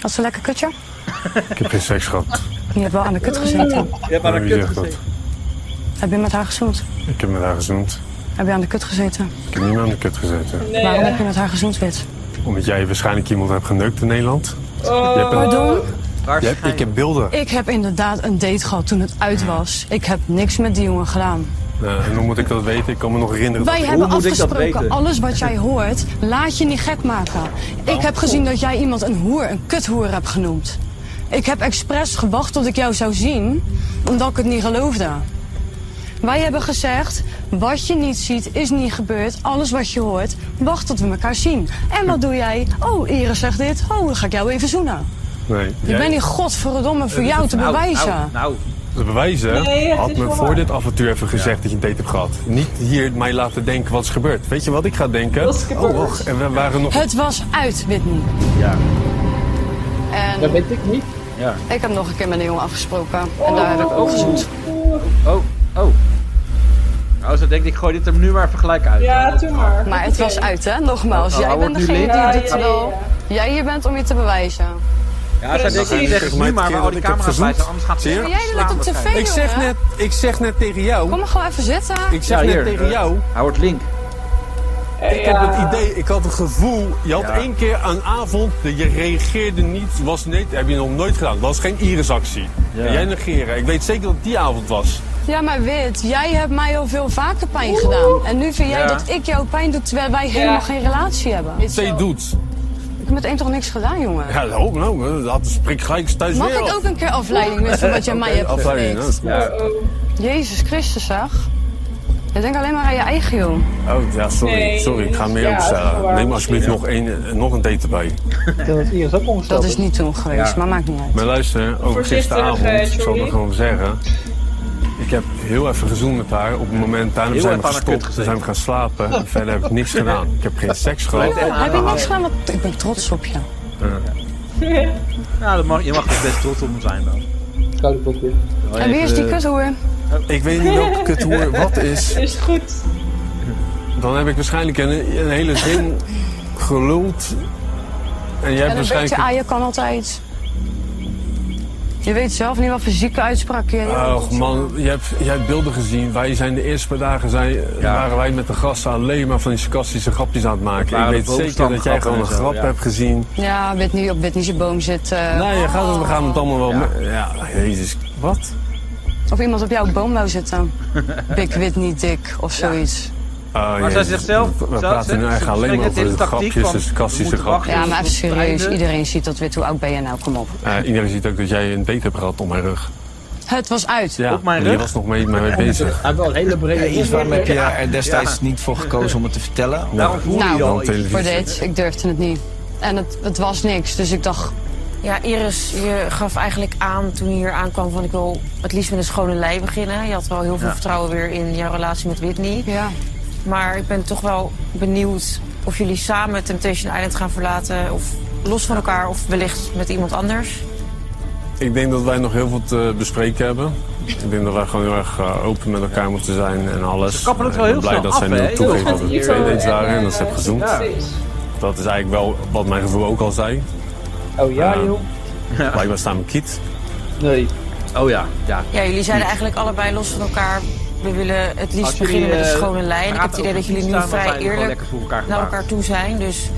Speaker 10: Had ze lekker kutje?
Speaker 11: Ik heb geen seks gehad.
Speaker 10: Je hebt wel aan de kut gezeten.
Speaker 2: Je hebt aan
Speaker 11: Wie
Speaker 2: een
Speaker 11: zegt
Speaker 2: kut
Speaker 11: dat?
Speaker 2: gezeten.
Speaker 10: Heb je met haar gezoend?
Speaker 11: Ik heb met haar gezoend.
Speaker 5: Heb je aan de kut gezeten?
Speaker 11: Ik heb niet meer aan de kut gezeten.
Speaker 5: Waarom heb je met haar gezoend, Wit?
Speaker 11: Omdat jij waarschijnlijk iemand hebt geneukt in Nederland.
Speaker 2: Oh.
Speaker 11: Je hebt een-
Speaker 5: Pardon?
Speaker 11: Je hebt- ik heb beelden.
Speaker 5: Ik heb inderdaad een date gehad toen het uit was. Ik heb niks met die jongen gedaan.
Speaker 11: Eh, en hoe moet ik dat weten? Ik kan me nog herinneren.
Speaker 5: Wij
Speaker 11: dat-
Speaker 5: hebben afgesproken, alles wat jij hoort, laat je niet gek maken. Ik
Speaker 2: Oh,
Speaker 5: heb gezien dat jij iemand een hoer, een kuthoer hebt genoemd. Ik heb expres gewacht tot ik jou zou zien, omdat ik het niet geloofde. Wij hebben gezegd, wat je niet ziet is niet gebeurd. Alles wat je hoort, wacht tot we elkaar zien. En wat doe jij? Oh, Iris zegt dit. Oh, dan ga ik jou even zoenen.
Speaker 11: Nee.
Speaker 5: Ik ben hier godverdomme voor jou te bewijzen.
Speaker 2: Nou,
Speaker 11: de bewijzen
Speaker 5: Nee, het
Speaker 11: had
Speaker 5: is
Speaker 11: me
Speaker 5: wel
Speaker 11: voor
Speaker 5: waar.
Speaker 11: dit avontuur even gezegd dat je een date hebt gehad. Niet hier mij laten denken wat is gebeurd. Weet je wat ik ga denken?
Speaker 5: Wat is gebeurd?
Speaker 11: Oh, wacht. En we waren nog...
Speaker 5: Het was uit, Whitney.
Speaker 11: Ja.
Speaker 5: En
Speaker 3: Dat weet ik niet.
Speaker 2: Ja.
Speaker 5: Ik heb nog een keer met een jongen afgesproken. En daar heb ik ook gezoend.
Speaker 2: Oh, oh. Nou, zo denk ik, gooi dit er nu maar even gelijk uit.
Speaker 5: Ja,
Speaker 2: toen maar.
Speaker 5: Maar het was uit, hè? Nogmaals,
Speaker 2: Oh, oh,
Speaker 5: jij
Speaker 2: hij
Speaker 5: bent
Speaker 2: wordt nu
Speaker 5: degene die
Speaker 2: lid. Ja,
Speaker 5: dit
Speaker 2: ja, ja,
Speaker 5: wel... Jij hier bent om je te bewijzen.
Speaker 2: Ja, zij denkt,
Speaker 11: Precies.
Speaker 2: ik zeg het nu maar, maar al die
Speaker 11: Ik heb
Speaker 2: camera's bij
Speaker 11: gezoend.
Speaker 2: zijn, anders gaat
Speaker 11: Zie
Speaker 2: ze
Speaker 11: je?
Speaker 5: Maar jij doet het op tv,
Speaker 11: Ik zeg,
Speaker 5: jongen.
Speaker 11: net, ik zeg net tegen
Speaker 5: Kom
Speaker 11: jou...
Speaker 5: maar gewoon even zitten.
Speaker 11: Ik zeg net tegen jou...
Speaker 2: Hij wordt link.
Speaker 11: Ik heb het idee, ik had het gevoel... Je had
Speaker 2: Ja.
Speaker 11: één keer een avond, dat je reageerde niet, was nee, heb je nog nooit gedaan. Dat was geen irisactie.
Speaker 2: Ja.
Speaker 11: En Jij negeren. Ik weet zeker dat het die avond was.
Speaker 5: Ja, maar Wit, jij hebt mij al veel vaker pijn gedaan. En nu vind jij
Speaker 11: Ja.
Speaker 5: dat ik jou pijn doe terwijl wij helemaal geen relatie hebben. Ik
Speaker 11: Zij doet.
Speaker 5: heb met één toch niks gedaan, jongen?
Speaker 11: Ja, nou, nou, dat spreekt gelijk thuis
Speaker 5: Mag
Speaker 11: weer
Speaker 5: ik
Speaker 11: af.
Speaker 5: ook een keer afleiding missen van wat jij mij
Speaker 11: Oké,
Speaker 5: hebt
Speaker 11: afleiding,
Speaker 5: geflikt?
Speaker 11: ja, dat
Speaker 4: oh,
Speaker 11: is goed.
Speaker 5: Jezus Christus, zeg. Je denkt alleen maar aan je eigen, joh.
Speaker 11: Oh, ja, sorry.
Speaker 5: Nee,
Speaker 11: sorry, ik ga
Speaker 5: ja,
Speaker 11: meer
Speaker 5: dat is
Speaker 11: opstellen.
Speaker 5: waar.
Speaker 11: Neem alsjeblieft nog, één, eh, nog een date erbij.
Speaker 3: Dat is Iris ook ongesteld.
Speaker 5: Dat is niet toen geweest,
Speaker 11: Ja.
Speaker 5: maar maakt niet uit.
Speaker 11: Maar luister, ook
Speaker 5: Voorzichtig,
Speaker 11: gisteravond,
Speaker 5: eh,
Speaker 11: ik zal
Speaker 5: Jordi.
Speaker 11: het gewoon zeggen. Ik heb heel even gezoend met haar. Op het moment, daarna
Speaker 2: Heel
Speaker 11: zijn we
Speaker 2: even aan haar kut
Speaker 11: gestopt. Toen
Speaker 2: gezeten.
Speaker 11: zijn we gaan slapen. En verder heb ik niks gedaan. Ik heb geen seks gehad.
Speaker 5: Joh, heb je niks gedaan? Want ik ben trots op je.
Speaker 2: Nou, dat mag, je mag er best trots op hem zijn dan.
Speaker 3: Koude potje.
Speaker 5: En wie is die kuthoer?
Speaker 11: Oh, eh, Ik weet niet welke kuthoer wat is.
Speaker 4: Is goed.
Speaker 11: Dan heb ik waarschijnlijk een, een hele zin geluld. En jij
Speaker 5: En
Speaker 11: hebt
Speaker 5: een beetje
Speaker 11: waarschijnlijk...
Speaker 5: aaien kan altijd. Je weet zelf niet wat voor zieke uitspraak je
Speaker 11: Och man, je hebt, je hebt beelden gezien. Wij zijn de eerste paar dagen zijn, waren wij met de gasten alleen maar van die sarcastische grapjes aan het maken. Ik
Speaker 2: Waren
Speaker 11: weet
Speaker 2: de
Speaker 11: zeker dat jij
Speaker 2: bovenstandgrappen
Speaker 11: gewoon een
Speaker 2: en zo,
Speaker 11: grap
Speaker 2: ja.
Speaker 11: hebt gezien.
Speaker 5: Ja, Whitney op Whitney's boom zit. eh,
Speaker 11: Nee, je gaat het, we gaan het allemaal wel... Ja, ja jezus. Wat?
Speaker 5: Of iemand op jouw boom wou zitten. Big Whitney Dick of zoiets.
Speaker 2: Maar zij zegt zelf,
Speaker 11: Oh, We, we
Speaker 2: zelf
Speaker 11: praten
Speaker 2: zegt-
Speaker 11: nu
Speaker 2: ze
Speaker 11: eigenlijk alleen maar
Speaker 2: bespreekt
Speaker 11: over
Speaker 2: dit
Speaker 11: de
Speaker 2: als tactiek
Speaker 11: grapjes,
Speaker 2: van,
Speaker 11: de
Speaker 2: we
Speaker 11: sarcastische
Speaker 2: moeten
Speaker 11: grapjes.
Speaker 2: wachten.
Speaker 5: Ja, maar even
Speaker 2: Tot het
Speaker 5: serieus.
Speaker 2: einde.
Speaker 5: Iedereen ziet dat wit. Hoe oud ben je nou? Kom op.
Speaker 11: Eh, iedereen ziet ook dat jij een date hebt gehad om mijn rug.
Speaker 5: Het was uit.
Speaker 11: Ja, en je was nog mee, mee bezig.
Speaker 3: Hij wel een hele brede
Speaker 7: Iets waarom heb je
Speaker 3: Ja.
Speaker 7: er destijds niet voor gekozen om het te vertellen?
Speaker 11: Daarom
Speaker 7: voelde
Speaker 5: Nou, voor dit. Ik durfde het niet. En het, het was niks. Dus ik dacht,
Speaker 9: Ja, Iris, je gaf eigenlijk aan toen je hier aankwam van ik wil het liefst met een schone lei beginnen. Je had wel heel veel
Speaker 5: Ja.
Speaker 9: vertrouwen weer in jouw relatie met Whitney.
Speaker 5: Ja.
Speaker 9: Maar ik ben toch wel benieuwd of jullie samen Temptation Island gaan verlaten. Of los van elkaar of wellicht met iemand anders.
Speaker 11: Ik denk dat wij nog heel veel te bespreken hebben. Ik denk dat wij gewoon heel erg eh, open met elkaar moeten zijn en alles.
Speaker 2: Ze kappen het
Speaker 11: Eh,
Speaker 2: wel
Speaker 11: ik
Speaker 2: heel
Speaker 11: ben blij dat
Speaker 2: snel
Speaker 11: zij
Speaker 2: af, hè?
Speaker 11: nu toegeeft dat
Speaker 2: Heel
Speaker 11: het
Speaker 2: goed.
Speaker 11: twee dates
Speaker 4: eh,
Speaker 2: Ja.
Speaker 11: waren en dat ze heeft gezoend.
Speaker 2: Ja.
Speaker 11: Dat is eigenlijk wel wat mijn gevoel ook al zei.
Speaker 3: Oh ja,
Speaker 11: Eh,
Speaker 3: joh.
Speaker 11: Blijkbaar staan we kiet.
Speaker 3: Nee.
Speaker 2: Oh ja, ja.
Speaker 9: Ja, jullie zeiden eigenlijk allebei los van elkaar. We willen het liefst
Speaker 2: Als jullie,
Speaker 9: beginnen met een
Speaker 2: eh,
Speaker 9: schone lijn. Ik
Speaker 2: praten
Speaker 9: heb het idee
Speaker 2: over
Speaker 9: dat jullie nu
Speaker 2: staan, dan zijn
Speaker 9: vrij
Speaker 2: we gewoon
Speaker 9: eerlijk
Speaker 2: lekker voor elkaar
Speaker 9: naar
Speaker 2: gemaakt.
Speaker 9: elkaar toe zijn. Dus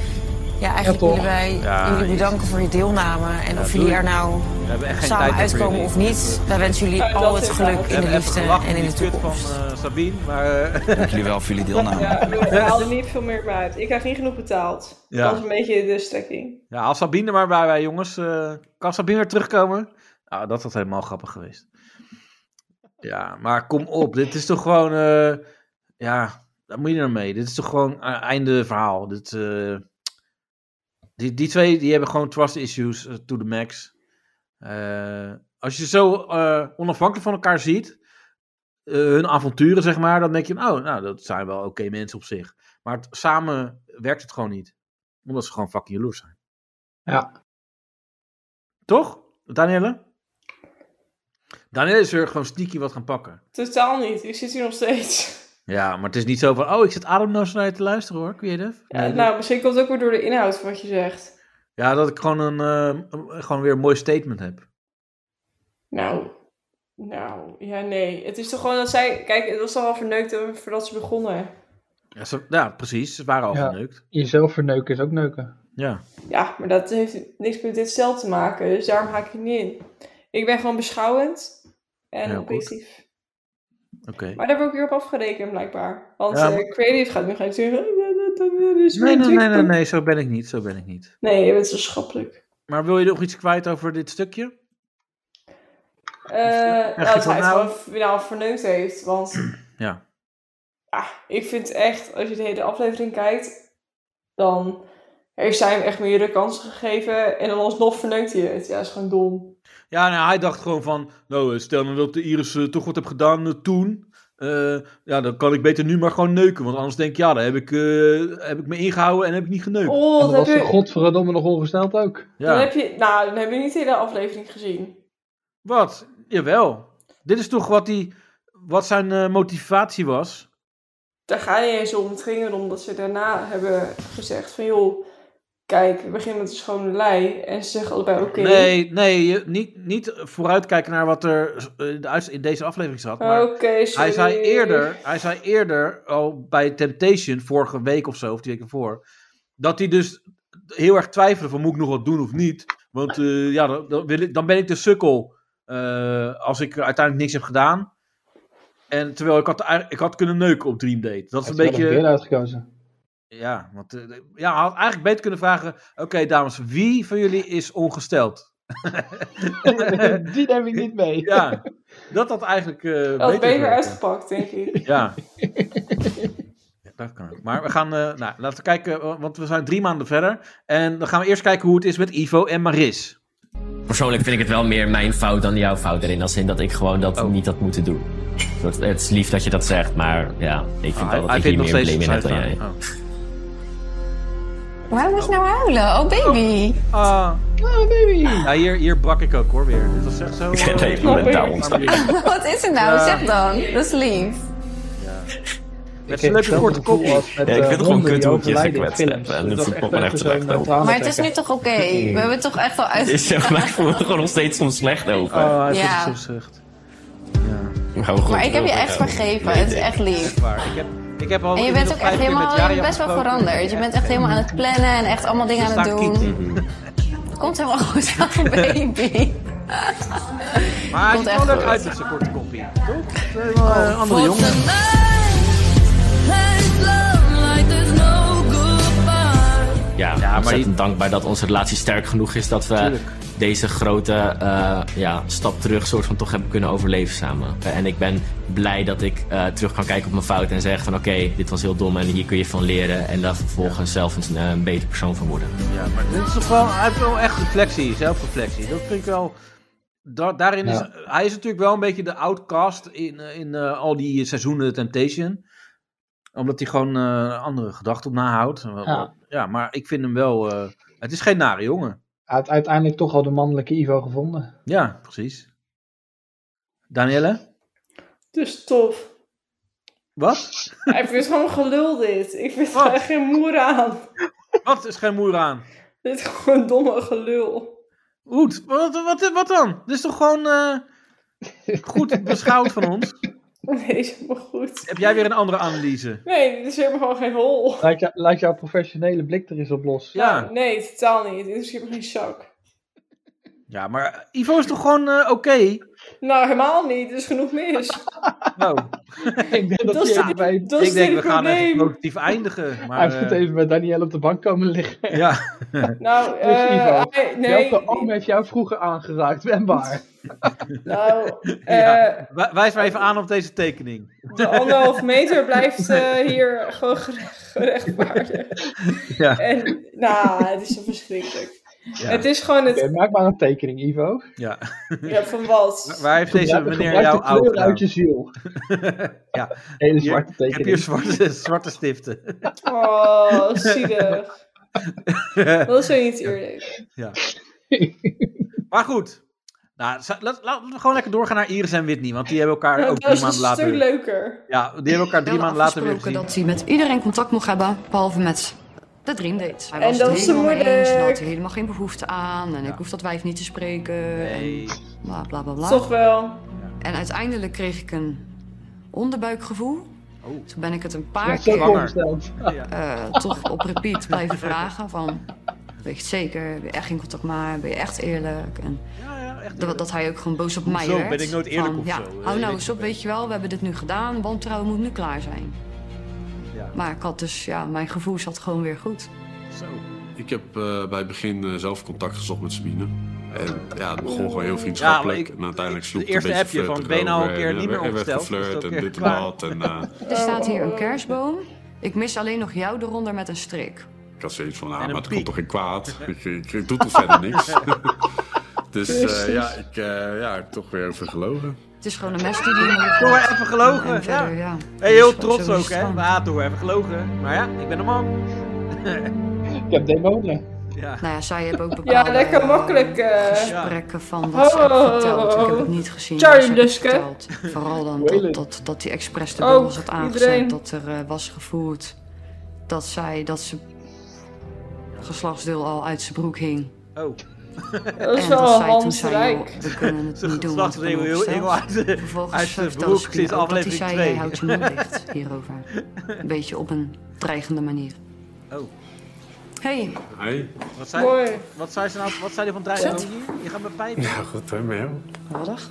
Speaker 9: ja, eigenlijk
Speaker 2: Ja, toch?
Speaker 9: willen wij
Speaker 2: Ja,
Speaker 9: jullie
Speaker 2: jezus.
Speaker 9: bedanken voor je deelname. En
Speaker 2: Ja,
Speaker 9: of jullie
Speaker 2: doei.
Speaker 9: er nou
Speaker 2: We hebben echt geen tijd
Speaker 9: samen
Speaker 2: meer voor
Speaker 9: uitkomen
Speaker 2: jullie.
Speaker 9: of niet, wij wensen jullie
Speaker 2: Ja,
Speaker 9: al
Speaker 2: dat
Speaker 9: het
Speaker 2: is
Speaker 9: geluk
Speaker 2: waar.
Speaker 9: in de
Speaker 2: We hebben
Speaker 9: liefde
Speaker 2: even gelachen
Speaker 9: en
Speaker 2: om
Speaker 9: in de
Speaker 2: die kut
Speaker 9: toekomst.
Speaker 2: van eh, Sabine, maar... eh,
Speaker 7: Dank jullie wel voor jullie deelname.
Speaker 4: Ja, joh, het haalde niet veel meer uit. Ik krijg niet genoeg betaald.
Speaker 2: Ja.
Speaker 4: Dat was een beetje de strekking.
Speaker 2: ja, als Sabine er maar bij wij, jongens. eh, kan Sabine weer terugkomen? Nou, dat was helemaal grappig geweest. Ja, maar kom op. Dit is toch gewoon... eh, ja, daar moet je nou mee. Dit is toch gewoon eh, einde verhaal. Dit, eh, die, die twee die hebben gewoon trust issues eh, to the max. Eh, als je zo eh, onafhankelijk van elkaar ziet... eh, hun avonturen, zeg maar, dan denk je, oh, nou, dat zijn wel oké mensen op zich. Maar het- samen werkt het gewoon niet. Omdat ze gewoon fucking jaloers zijn.
Speaker 3: Ja.
Speaker 2: Toch, Danielle? Danielle is er gewoon sneaky wat gaan pakken.
Speaker 4: Totaal niet. Ik zit hier nog steeds.
Speaker 2: Ja, maar het is niet zo van, oh, ik zit Adam nou zo naar je te luisteren hoor, creative.
Speaker 4: Ja,
Speaker 2: Nee, dat-
Speaker 4: nou, misschien komt het ook weer door de inhoud van wat je zegt.
Speaker 2: ja, dat ik gewoon, een, eh, een- gewoon weer een mooi statement heb.
Speaker 4: Nou, nou, ja, nee. Het is toch gewoon dat zij... Kijk, het was toch al verneukt eh, voordat ze begonnen.
Speaker 2: Ja, ze- ja, precies. Ze waren al
Speaker 3: Ja.
Speaker 2: geneukt.
Speaker 3: Jezelf verneuken is ook neuken.
Speaker 2: Ja.
Speaker 4: Ja, maar dat heeft niks met dit stel te maken. Dus daarom haak ik er niet in. Ik ben gewoon beschouwend en
Speaker 2: Heel goed.
Speaker 4: objectief.
Speaker 2: Oké.
Speaker 4: Maar daar word ik weer op afgerekend, blijkbaar. Want
Speaker 2: Ja,
Speaker 4: eh,
Speaker 2: maar-
Speaker 4: Creative gaat nu gaan zeggen... "Oh, Nee,
Speaker 2: Nee, nee, nee, nee, nee, zo ben ik niet. Zo ben ik niet.
Speaker 4: Nee, je bent zo schappelijk.
Speaker 2: Maar wil je nog iets kwijt over dit stukje?
Speaker 4: Eh, nou,
Speaker 2: je
Speaker 4: dat
Speaker 2: van
Speaker 4: hij het
Speaker 2: nou?
Speaker 4: gewoon finaal verneukt heeft. Want Ah,
Speaker 2: Ja.
Speaker 4: ik vind echt, als je de hele aflevering kijkt... dan heeft zij hem echt meerdere kansen gegeven. En dan alsnog verneukt hij het. Ja, dat is gewoon dom.
Speaker 2: Ja, nou, hij dacht gewoon van, nou, eh, stel nou dat de Iris eh, toch wat heb gedaan eh, toen. eh, ja, dan kan ik beter nu maar gewoon neuken. Want anders denk ik, ja, dan heb ik, eh, heb ik me ingehouden en heb ik niet geneukt.
Speaker 4: Oh,
Speaker 3: En dan
Speaker 4: dat
Speaker 3: was
Speaker 4: heb
Speaker 3: ze
Speaker 4: je-
Speaker 3: godverdomme nog ongesteld ook.
Speaker 4: Dan
Speaker 2: Ja.
Speaker 4: heb je... Nou, dan heb je niet de hele aflevering gezien.
Speaker 2: Wat? Jawel. Dit is toch wat, die, wat zijn eh, motivatie was?
Speaker 4: Daar ga je eens om. Het ging erom dat ze daarna hebben gezegd van... joh, kijk, we beginnen met een schone lei. En ze zeggen allebei oké.
Speaker 2: Nee, nee je- niet, niet vooruitkijken naar wat er eh, in de uits- in deze aflevering zat. Maar
Speaker 4: Oké,
Speaker 2: hij,
Speaker 4: sorry.
Speaker 2: zei eerder, hij zei eerder, al bij Temptation, vorige week of zo, of die week ervoor, dat hij dus heel erg twijfelde van moet ik nog wat doen of niet. Want eh, ja, dan, dan, wil ik, dan ben ik de sukkel eh, als ik uiteindelijk niks heb gedaan. En terwijl ik had, eigenlijk- ik had kunnen neuken op Dream Date. Dat is een beetje...
Speaker 3: weer uitgekozen.
Speaker 2: Ja, want eh, ja, hij had eigenlijk beter kunnen vragen: Oké, dames, wie van jullie is ongesteld?
Speaker 3: Die neem ik niet mee.
Speaker 2: Ja, dat had eigenlijk. eh
Speaker 4: Dat had beter
Speaker 2: gewerkt.
Speaker 4: uitgepakt, denk ik.
Speaker 2: Ja. Ja, Dat kan ook. Maar we gaan, eh, nou, laten we kijken, eh, want we zijn drie maanden verder. En dan gaan we eerst kijken hoe het is met Ivo en
Speaker 6: Ah,
Speaker 2: Maris.
Speaker 6: Persoonlijk vind ik het wel meer mijn fout dan jouw fout erin. Als in dat ik gewoon dat
Speaker 2: Oh.
Speaker 6: niet had moeten doen. Een soort- Het is lief dat je dat zegt, maar ja, ik vind
Speaker 2: hij-
Speaker 6: wel
Speaker 2: Ah, hij
Speaker 6: dat ik
Speaker 2: vindt
Speaker 6: hier
Speaker 2: nog
Speaker 6: meer blame
Speaker 2: steeds
Speaker 6: in heb
Speaker 2: dat
Speaker 6: dan
Speaker 2: zij
Speaker 6: jij.
Speaker 8: Waarom moet je nou huilen? Oh, baby.
Speaker 2: Ah.
Speaker 8: Oh, baby.
Speaker 2: Ja, hier, hier brak ik ook hoor weer. Dit was echt zo. eh,
Speaker 6: Nee, ik ben daar ontstaan.
Speaker 8: Wat is het nou?
Speaker 2: Ja.
Speaker 8: Zeg dan. Dat is lief.
Speaker 2: Met zijn leuke korte kopjes.
Speaker 6: Ja, ik vind het gewoon kut hoe ik je gekwetst heb. En dat voelt me echt slecht
Speaker 2: eh,
Speaker 6: over.
Speaker 8: Maar het is nu toch oké? We hebben het toch echt al uit.
Speaker 6: Is, zeg maar, ik voel me er gewoon nog steeds soms slecht over.
Speaker 2: Oh, hij
Speaker 8: Ja.
Speaker 2: vindt het zo zucht.
Speaker 6: Nou, goed,
Speaker 8: Maar ik heb je
Speaker 6: wil
Speaker 8: echt
Speaker 6: ook.
Speaker 8: vergeven.
Speaker 6: Nee,
Speaker 8: Het is
Speaker 6: nee.
Speaker 8: echt lief.
Speaker 2: Waar. Ik heb, ik heb al
Speaker 8: En je bent ook echt helemaal, je bent best wel veranderd. Je bent echt helemaal aan het plannen en echt allemaal dingen aan het doen. Het komt helemaal goed aan, baby.
Speaker 2: Maar hij
Speaker 8: Komt
Speaker 2: ziet er
Speaker 8: echt
Speaker 2: wel leuk
Speaker 8: goed.
Speaker 2: uit met zijn korte kopie. Toch? Het is wel helemaal, eh, andere
Speaker 8: God,
Speaker 2: jongen.
Speaker 6: Ja, ontzettend dankbaar dat onze relatie sterk genoeg is dat we
Speaker 2: Tuurlijk.
Speaker 6: deze grote eh, ja, stap terug soort van toch hebben kunnen overleven samen. Eh, En ik ben blij dat ik eh, terug kan kijken op mijn fout en zeggen van oké, dit was heel dom en hier kun je van leren en daar vervolgens zelf een, eh, een beter persoon van worden.
Speaker 2: Ja, maar dit is toch wel, hij heeft wel echt reflectie, zelfreflectie. Dat vind ik wel. da- daarin is,
Speaker 3: Ja.
Speaker 2: Hij is natuurlijk wel een beetje de outcast in, eh, in eh, al die seizoenen Temptation. Omdat hij gewoon eh, andere gedachten op nahoudt. Ja.
Speaker 3: Ja.
Speaker 2: maar ik vind hem wel. eh, het is geen nare jongen.
Speaker 3: Hij had uiteindelijk toch al de mannelijke Ivo gevonden.
Speaker 2: Ja, precies. Danielle?
Speaker 4: Dus tof.
Speaker 2: Wat?
Speaker 4: Ik vind het gewoon gelul dit. Ik vind er geen moer aan.
Speaker 2: Wat is geen moer aan?
Speaker 4: Dit is gewoon domme gelul.
Speaker 2: Goed, wat, wat, wat dan? Dit is toch gewoon eh, goed beschouwd van ons?
Speaker 4: Nee, is helemaal goed.
Speaker 2: Heb jij weer een andere analyse?
Speaker 4: Nee, dit is helemaal gewoon geen hol.
Speaker 3: Laat, jou- laat jouw professionele blik er eens op los.
Speaker 2: Ja.
Speaker 4: Nee, totaal niet. Dit is helemaal geen zak.
Speaker 2: Ja, maar Ivo is toch gewoon eh, oké?
Speaker 4: Nou, helemaal niet. Er is genoeg mis.
Speaker 2: Nou,
Speaker 3: ik denk dat,
Speaker 4: Dat is
Speaker 3: hij
Speaker 4: de-
Speaker 3: erbij...
Speaker 4: dat is
Speaker 2: ik denk we
Speaker 4: het
Speaker 2: gaan even
Speaker 4: probleem.
Speaker 2: productief eindigen.
Speaker 3: Hij
Speaker 2: Maar,
Speaker 3: heeft het
Speaker 2: eh,
Speaker 3: even bij Daniel op de bank komen liggen.
Speaker 2: ja.
Speaker 4: Nou,
Speaker 3: Dus
Speaker 4: eh
Speaker 3: Ivo,
Speaker 4: hij- nee.
Speaker 3: welke arm heeft jou vroeger aangeraakt? En waar?
Speaker 4: Nou, eh,
Speaker 2: ja. Wij- Wijs maar even aan op deze tekening.
Speaker 4: de anderhalf meter blijft eh, hier gewoon gere- gerechtvaardigd.
Speaker 2: Ja.
Speaker 4: En, nou, het is zo verschrikkelijk. Het is gewoon
Speaker 3: Oké,
Speaker 4: het...
Speaker 3: maak maar een tekening, Ivo.
Speaker 2: Ja.
Speaker 4: Ja, van wat?
Speaker 2: Waar heeft deze
Speaker 3: Gebruik-
Speaker 2: meneer
Speaker 3: gebruik de kleur
Speaker 2: jou oud gedaan?
Speaker 3: uit je ziel.
Speaker 2: Ja.
Speaker 3: Hele
Speaker 2: Hier,
Speaker 3: zwarte
Speaker 2: ik heb hier
Speaker 3: tekening.
Speaker 2: zwarte, zwarte stiften.
Speaker 4: Oh, zielig. Dat is zo niet eerlijk.
Speaker 2: ja. Maar goed. Nou, za- laat- laten we gewoon lekker doorgaan naar Iris en Whitney. Want die hebben elkaar ook
Speaker 4: Dat
Speaker 2: drie
Speaker 4: is een
Speaker 2: maanden
Speaker 4: stuk
Speaker 2: later...
Speaker 4: leuker.
Speaker 2: Ja, die hebben elkaar drie
Speaker 5: Hadden
Speaker 2: maanden later weer
Speaker 5: afgesproken
Speaker 2: gezien.
Speaker 5: dat hij met iedereen contact mocht hebben, behalve met de dreamdate. Hij
Speaker 4: En
Speaker 5: was
Speaker 4: dat
Speaker 5: het
Speaker 4: is zo
Speaker 5: helemaal mee eens, en daar had
Speaker 4: moeilijk.
Speaker 5: hij helemaal geen behoefte aan. En ik hoef dat wijf niet te spreken.
Speaker 2: Nee.
Speaker 5: En bla bla bla bla.
Speaker 4: Toch wel.
Speaker 5: En uiteindelijk kreeg ik een onderbuikgevoel. Toen ben ik het een paar
Speaker 8: Ja, zo
Speaker 5: keer
Speaker 8: ongesteld.
Speaker 5: eh, toch op repeat blijven vragen van... Weet je het zeker? Ben je echt geen contact maar? Ben je echt eerlijk? En Dat, dat hij ook gewoon boos op mij
Speaker 2: Hoezo?
Speaker 5: werd.
Speaker 2: Ben ik nooit eerlijk
Speaker 5: van,
Speaker 2: of
Speaker 5: ja,
Speaker 2: zo?
Speaker 5: Hou
Speaker 2: Eh,
Speaker 5: nou
Speaker 2: ik-
Speaker 5: eens op, weet je wel. We hebben dit nu gedaan. Wantrouwen moet nu klaar zijn.
Speaker 2: Ja.
Speaker 5: Maar ik had dus... Ja, mijn gevoel zat gewoon weer goed.
Speaker 11: Ik heb eh, bij het begin eh, zelf contact gezocht met Sabine. En ja, het begon gewoon heel
Speaker 2: Ja,
Speaker 11: vriendschappelijk.
Speaker 2: maar ik-
Speaker 11: en uiteindelijk sloeg
Speaker 2: de
Speaker 11: het een
Speaker 2: eerste
Speaker 11: beetje
Speaker 2: appje van,
Speaker 11: flirterig
Speaker 2: ben je nou een
Speaker 11: over
Speaker 2: keer
Speaker 11: en
Speaker 2: niet meer
Speaker 11: er werd
Speaker 2: ongesteld? Is
Speaker 11: geflirt
Speaker 2: het ook
Speaker 11: en
Speaker 2: echt
Speaker 11: dit en
Speaker 2: klaar?
Speaker 11: dat. En eh,
Speaker 4: Oh.
Speaker 5: Er staat hier een kerstboom. Ik mis alleen nog jou eronder met een strik.
Speaker 11: ik had zoiets van, ah, maar het komt toch geen kwaad? Ik, ik, ik doe toch verder niks? dus eh,
Speaker 5: Precies.
Speaker 11: ja, ik eh, ja, heb toch weer even gelogen.
Speaker 5: Het is gewoon een mes die die in je
Speaker 2: Door
Speaker 5: kont.
Speaker 2: even gelogen,
Speaker 5: En
Speaker 2: ja.
Speaker 5: verder, ja.
Speaker 2: Hey, heel
Speaker 5: Dus zo
Speaker 2: trots
Speaker 5: is het
Speaker 2: ook, hè?
Speaker 5: gewoon.
Speaker 2: We haten hoe we hebben gelogen. Maar ja, ik ben een man.
Speaker 8: Ik heb demonen.
Speaker 2: Ja.
Speaker 5: Nou ja, zij hebben ook
Speaker 4: Ja,
Speaker 5: bepaalde
Speaker 4: lekker makkelijk. eh.
Speaker 5: gesprekken van wat ze hebben verteld. Ik heb het niet gezien.
Speaker 4: Charlie
Speaker 5: wat ze hebben
Speaker 4: Luske.
Speaker 5: verteld. Vooral dan dat, dat, dat die expres de
Speaker 4: Ook,
Speaker 5: was had aangezet.
Speaker 4: Oh, iedereen.
Speaker 5: Dat er eh, was gevoerd dat zij, dat ze geslachtsdeel al uit zijn broek hing.
Speaker 2: Oh.
Speaker 4: Dat is
Speaker 5: en
Speaker 4: wel
Speaker 5: dat zij toen
Speaker 4: Hans
Speaker 5: zei,
Speaker 4: Rijk.
Speaker 5: joh, we kunnen het niet doen, want ik ben
Speaker 2: geslachtsdeel heel
Speaker 5: ongesteld.
Speaker 2: engel uit de-
Speaker 5: Vervolgens
Speaker 2: uit zijn
Speaker 5: vertelde
Speaker 2: broek
Speaker 5: Sabine
Speaker 2: sinds
Speaker 5: ook dat hij
Speaker 2: aflevering
Speaker 5: zei,
Speaker 2: twee.
Speaker 5: jij houdt je mond dicht hierover. Een beetje op een dreigende manier.
Speaker 2: Oh.
Speaker 5: Hey,
Speaker 11: Hey.
Speaker 2: Wat zei,
Speaker 5: Mooi.
Speaker 2: Wat zei ze nou? Wat zei die van Drijven
Speaker 5: Zet.
Speaker 2: hier? Je gaat me pijn doen.
Speaker 11: Ja, goed hè, met jou.
Speaker 5: Waddig.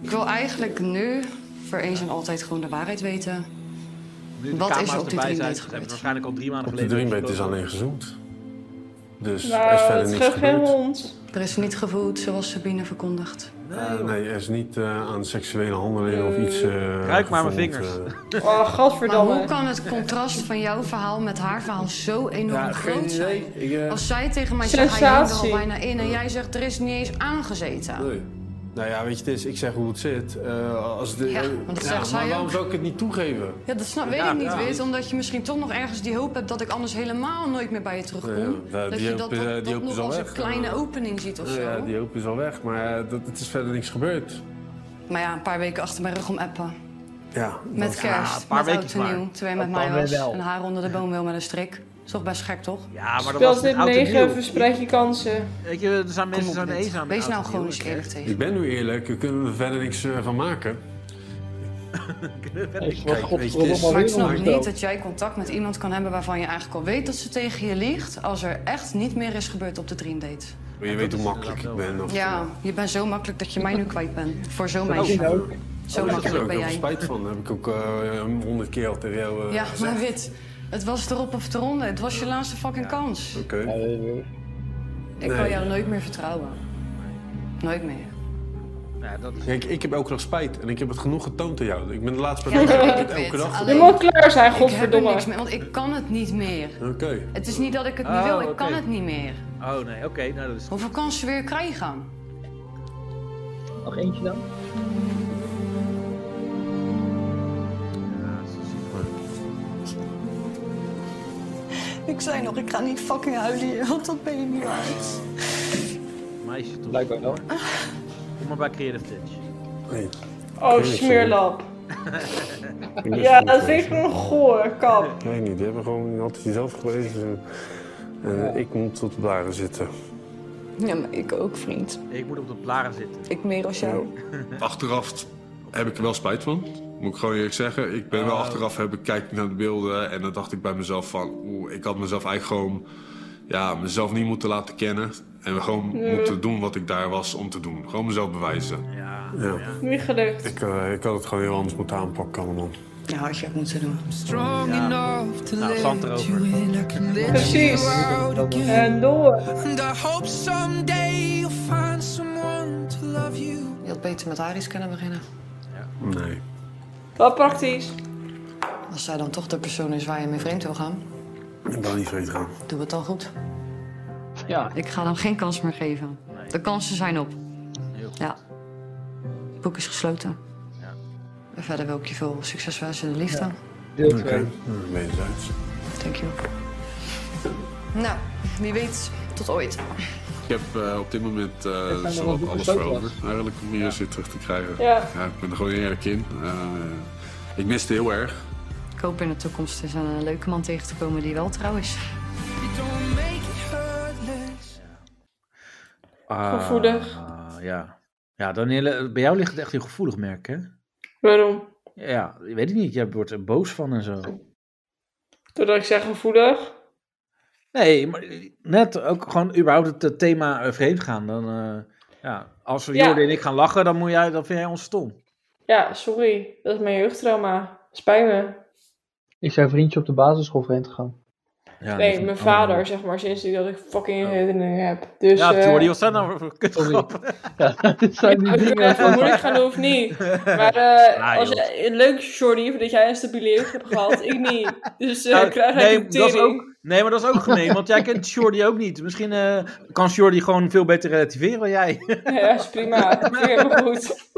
Speaker 5: Ik wil eigenlijk nu voor eens en altijd gewoon de waarheid weten.
Speaker 2: Nu de
Speaker 5: Wat is
Speaker 2: camera's
Speaker 5: er op die
Speaker 2: erbij
Speaker 5: drie
Speaker 2: zijn,
Speaker 5: meter
Speaker 2: ze hebben
Speaker 5: gebeurd?
Speaker 2: waarschijnlijk al drie maanden
Speaker 11: Op de
Speaker 2: geleden.
Speaker 11: drinkbeet is alleen gezoend. Dus er
Speaker 4: Nou,
Speaker 11: is verder
Speaker 4: het
Speaker 11: niks
Speaker 4: geeft geen
Speaker 11: gebeurd.
Speaker 4: hond.
Speaker 5: Er is niet gevoeld zoals Sabine verkondigd.
Speaker 11: Eh, nee, er is niet eh, aan seksuele handelingen of iets. eh,
Speaker 2: Ruik maar mijn
Speaker 11: gevoeld, eh.
Speaker 2: vingers.
Speaker 4: Oh, gadverdamme.
Speaker 5: Maar hoe kan het contrast van jouw verhaal met haar verhaal zo enorm
Speaker 11: Ja, geen
Speaker 5: groot zijn?
Speaker 11: idee. Ik, eh,
Speaker 5: Als zij tegen mij zegt, hij hangt er al
Speaker 11: Sensatie.
Speaker 5: bijna in en jij zegt, er is niet eens aangezeten.
Speaker 11: Nee. Nou ja, weet je, het is, ik zeg hoe het zit. Eh, als de,
Speaker 5: Ja, want dat zegt zij
Speaker 11: maar waarom
Speaker 5: ook.
Speaker 11: zou ik het niet toegeven?
Speaker 5: Ja, dat snap, weet
Speaker 11: Ja,
Speaker 5: ik niet,
Speaker 11: ja.
Speaker 5: Wit. Omdat je misschien toch nog ergens die hoop hebt dat ik anders helemaal nooit meer bij je terugkom.
Speaker 11: Ja, ja,
Speaker 5: dat
Speaker 11: die
Speaker 5: je
Speaker 11: hoop
Speaker 5: dat,
Speaker 11: is-
Speaker 5: dat,
Speaker 11: die
Speaker 5: dat
Speaker 11: hoop is
Speaker 5: nog
Speaker 11: al
Speaker 5: als een
Speaker 11: weg.
Speaker 5: kleine opening ziet of zo.
Speaker 11: Nou ja, die hoop is al weg, maar eh, dat, het is verder niks gebeurd.
Speaker 5: Maar ja, een paar weken achter mijn rug om appen.
Speaker 11: Ja,
Speaker 5: Met kerst,
Speaker 11: een paar
Speaker 5: met
Speaker 11: weekjes
Speaker 5: oud en
Speaker 11: maar.
Speaker 5: nieuw. Terwijl je
Speaker 11: Dat
Speaker 5: met
Speaker 11: kan
Speaker 5: mij was.
Speaker 11: weer wel.
Speaker 5: Een haar onder de boom wil met een strik. Is toch best gek, toch?
Speaker 2: Ja, maar dat was
Speaker 4: Speelt
Speaker 2: met
Speaker 4: dit
Speaker 2: oud en
Speaker 4: 9,
Speaker 2: nieuw.
Speaker 4: verspreid je kansen.
Speaker 2: Weet je, er zijn mensen zo
Speaker 5: Wit.
Speaker 2: eenzaam.
Speaker 5: Wees nou gewoon eens eerlijk tegen.
Speaker 11: Ik ben nu eerlijk, we kunnen er verder niks eh, van maken. Kijk, weet je, het is-
Speaker 5: Maar ik snap niet dat jij contact met iemand kan hebben waarvan je eigenlijk al weet dat ze tegen je liegt. als er echt niet meer is gebeurd op de dreamdate.
Speaker 11: Maar je weet hoe makkelijk ik ben. Of,
Speaker 5: Ja, je bent zo makkelijk dat je mij nu kwijt bent. Voor zo'n
Speaker 11: Oh,
Speaker 5: meisje.
Speaker 11: ja, ook.
Speaker 5: Zo
Speaker 11: Oh, daar heb ik er
Speaker 5: makkelijk
Speaker 11: ook
Speaker 5: ben
Speaker 11: heel veel
Speaker 5: jij.
Speaker 11: spijt van. Daar heb ik ook eh, honderd keer al tegen jou eh,
Speaker 5: Ja,
Speaker 11: gezegd.
Speaker 5: maar wit. Het was erop of eronder. Het was je laatste fucking kans.
Speaker 11: Oké.
Speaker 5: Ik
Speaker 11: Nee.
Speaker 5: kan jou nooit meer vertrouwen. Nooit meer.
Speaker 2: Ja, dat
Speaker 11: Kijk, ik heb elke dag spijt en ik heb het genoeg getoond aan jou. Ik ben de laatste
Speaker 5: Ja,
Speaker 11: paar dagen
Speaker 5: ik
Speaker 11: heb ik het
Speaker 5: weet
Speaker 11: elke
Speaker 5: het.
Speaker 11: dag
Speaker 5: Alleen,
Speaker 11: gedaan.
Speaker 4: klaar zijn,
Speaker 5: Ik heb er
Speaker 4: godverdomme.
Speaker 5: niks meer, want ik kan het niet meer.
Speaker 11: Oké.
Speaker 5: Het is niet dat ik het niet
Speaker 2: Oh,
Speaker 5: wil, ik kan
Speaker 2: oké.
Speaker 5: het niet meer.
Speaker 2: Oh nee, oké, nou dat is
Speaker 5: Hoeveel kansen weer krijgen?
Speaker 8: Nog eentje dan?
Speaker 12: Ik zei nog, ik ga niet fucking huilen hier, want dat ben je niet waard.
Speaker 2: meisje toch. Blijkbaar wel. Kom maar bij Creative Touch.
Speaker 11: Nee.
Speaker 4: Oh, smeerlap.
Speaker 11: ben
Speaker 4: Ja,
Speaker 11: goed
Speaker 4: dat vind ik
Speaker 11: geweest.
Speaker 4: een goor kap.
Speaker 11: Ik weet niet, die hebben gewoon altijd jezelf gelezen. En eh, ik moet tot de blaren zitten.
Speaker 12: Ja, maar ik ook, vriend.
Speaker 2: Ik moet op de blaren zitten.
Speaker 12: Ik meer als jou.
Speaker 11: Achteraf heb ik er wel spijt van. Moet ik gewoon eerlijk zeggen. Ik ben wel achteraf, heb ik kijk naar de beelden en dan dacht ik bij mezelf van... Oeh, ik had mezelf eigenlijk gewoon... Ja, mezelf niet moeten laten kennen. En gewoon
Speaker 4: Ja.
Speaker 11: moeten doen wat ik daar was om te doen. Gewoon mezelf bewijzen.
Speaker 2: Ja.
Speaker 4: Niet gelukt.
Speaker 11: Ik, ik had het gewoon heel anders moeten aanpakken allemaal.
Speaker 5: Ja, had je ook moeten doen.
Speaker 13: Strong enough to
Speaker 2: Nou,
Speaker 13: let
Speaker 2: zand erover.
Speaker 13: you in. I can let
Speaker 4: Precies.
Speaker 13: you out
Speaker 4: En
Speaker 13: again.
Speaker 4: door.
Speaker 13: And I hope someday you'll find someone to love you.
Speaker 5: Je had beter met Aris kunnen beginnen.
Speaker 11: Nee.
Speaker 4: Wel praktisch.
Speaker 5: Als zij dan toch de persoon is waar je mee vreemd wil gaan,
Speaker 11: Ik ben niet vreemd gaan.
Speaker 5: doe het dan goed. Ja. Ik ga dan geen kans meer geven. De kansen zijn op. Ja. Het boek is gesloten.
Speaker 2: Ja.
Speaker 5: En verder wil ik je veel succes wensen in de liefde.
Speaker 8: Deel
Speaker 11: Oké, nou, weet het uit.
Speaker 5: Thank you. Nou, wie weet, tot ooit.
Speaker 11: Ik heb eh, op dit moment eh,
Speaker 5: wel
Speaker 11: zowat
Speaker 5: goed
Speaker 11: alles
Speaker 5: besloten
Speaker 11: veroverd. Eigenlijk om hier eens weer terug te krijgen.
Speaker 5: Ja.
Speaker 11: ik ben er gewoon eerlijk in. Eh, ik miste heel erg.
Speaker 5: Ik hoop in de toekomst eens een leuke man tegen te komen die wel trouw is.
Speaker 13: Don't make it hurt less.
Speaker 2: Ah,
Speaker 4: Gevoelig.
Speaker 2: ja. Ja, Danielle, bij jou ligt het echt heel gevoelig, merk ik, hè?
Speaker 4: Waarom?
Speaker 2: Ja, weet ik niet. Jij wordt er boos van en zo.
Speaker 4: Doordat ik zeg gevoelig.
Speaker 2: Nee, maar net ook gewoon überhaupt het eh, thema eh, vreemdgaan. Dan, eh, ja, als we
Speaker 4: Ja.
Speaker 2: Jordi en ik gaan lachen, dan, moet jij, dan vind jij ons stom.
Speaker 4: Ja, sorry. Dat is mijn jeugdtrauma. Spijt me.
Speaker 3: Is jouw vriendje op de basisschool vreemd gegaan?
Speaker 4: nee,
Speaker 2: Oh.
Speaker 4: mijn vader, zeg maar, sinds die dat ik fucking herinnering heb. Dus,
Speaker 2: ja,
Speaker 4: eh,
Speaker 2: Jordi, wat zijn nou voor kutgrap?
Speaker 3: Dit zijn die
Speaker 4: Als je
Speaker 3: dingen.
Speaker 4: het
Speaker 3: van-
Speaker 4: moeilijk gaan doen of niet. Maar eh,
Speaker 2: Ah,
Speaker 4: als,
Speaker 2: joh.
Speaker 4: eh, leuk, Jordi, dat jij een stabiele jeugd hebt gehad. ik niet. Dus eh
Speaker 2: Nou,
Speaker 4: krijg jij
Speaker 2: nee,
Speaker 4: een
Speaker 2: dat is
Speaker 4: tering.
Speaker 2: ook, nee, maar dat is ook gemeen, want jij kent Jordi ook niet. Misschien eh, kan Jordi gewoon veel beter relativeren dan jij.
Speaker 4: Ja, is prima. Vind ik helemaal goed.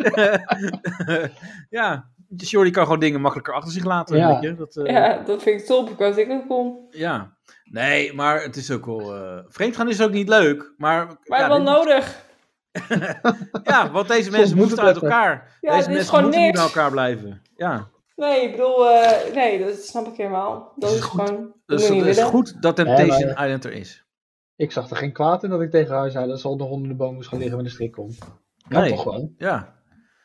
Speaker 2: ja, Jordi kan gewoon dingen makkelijker achter zich laten.
Speaker 4: Ja.
Speaker 2: Weet je? Dat, eh,
Speaker 4: Ja, dat vind ik top. Ik wou dat ik dat kon.
Speaker 2: ja. Nee, maar het is ook wel... eh vreemdgaan is ook niet leuk, maar...
Speaker 4: Maar
Speaker 2: ja,
Speaker 4: wel
Speaker 2: dit-
Speaker 4: nodig.
Speaker 2: Ja, want deze mensen moeten uit elkaar.
Speaker 4: Ja,
Speaker 2: deze
Speaker 4: dit is
Speaker 2: mensen
Speaker 4: gewoon
Speaker 2: moeten niet
Speaker 4: niks.
Speaker 2: bij elkaar blijven. Ja.
Speaker 4: Nee, ik bedoel, eh, nee, dat snap ik helemaal. Dat is gewoon. Dat moet
Speaker 2: Dus
Speaker 4: je
Speaker 2: het
Speaker 4: niet
Speaker 2: is
Speaker 4: willen.
Speaker 2: goed dat
Speaker 3: Nee, maar-
Speaker 2: Temptation Island er is.
Speaker 3: Ik zag er geen kwaad in dat ik tegen haar zei dat ze onder onder de boom moest gaan liggen met een strik om. Kan
Speaker 2: Nee.
Speaker 3: toch gewoon?
Speaker 2: Ja.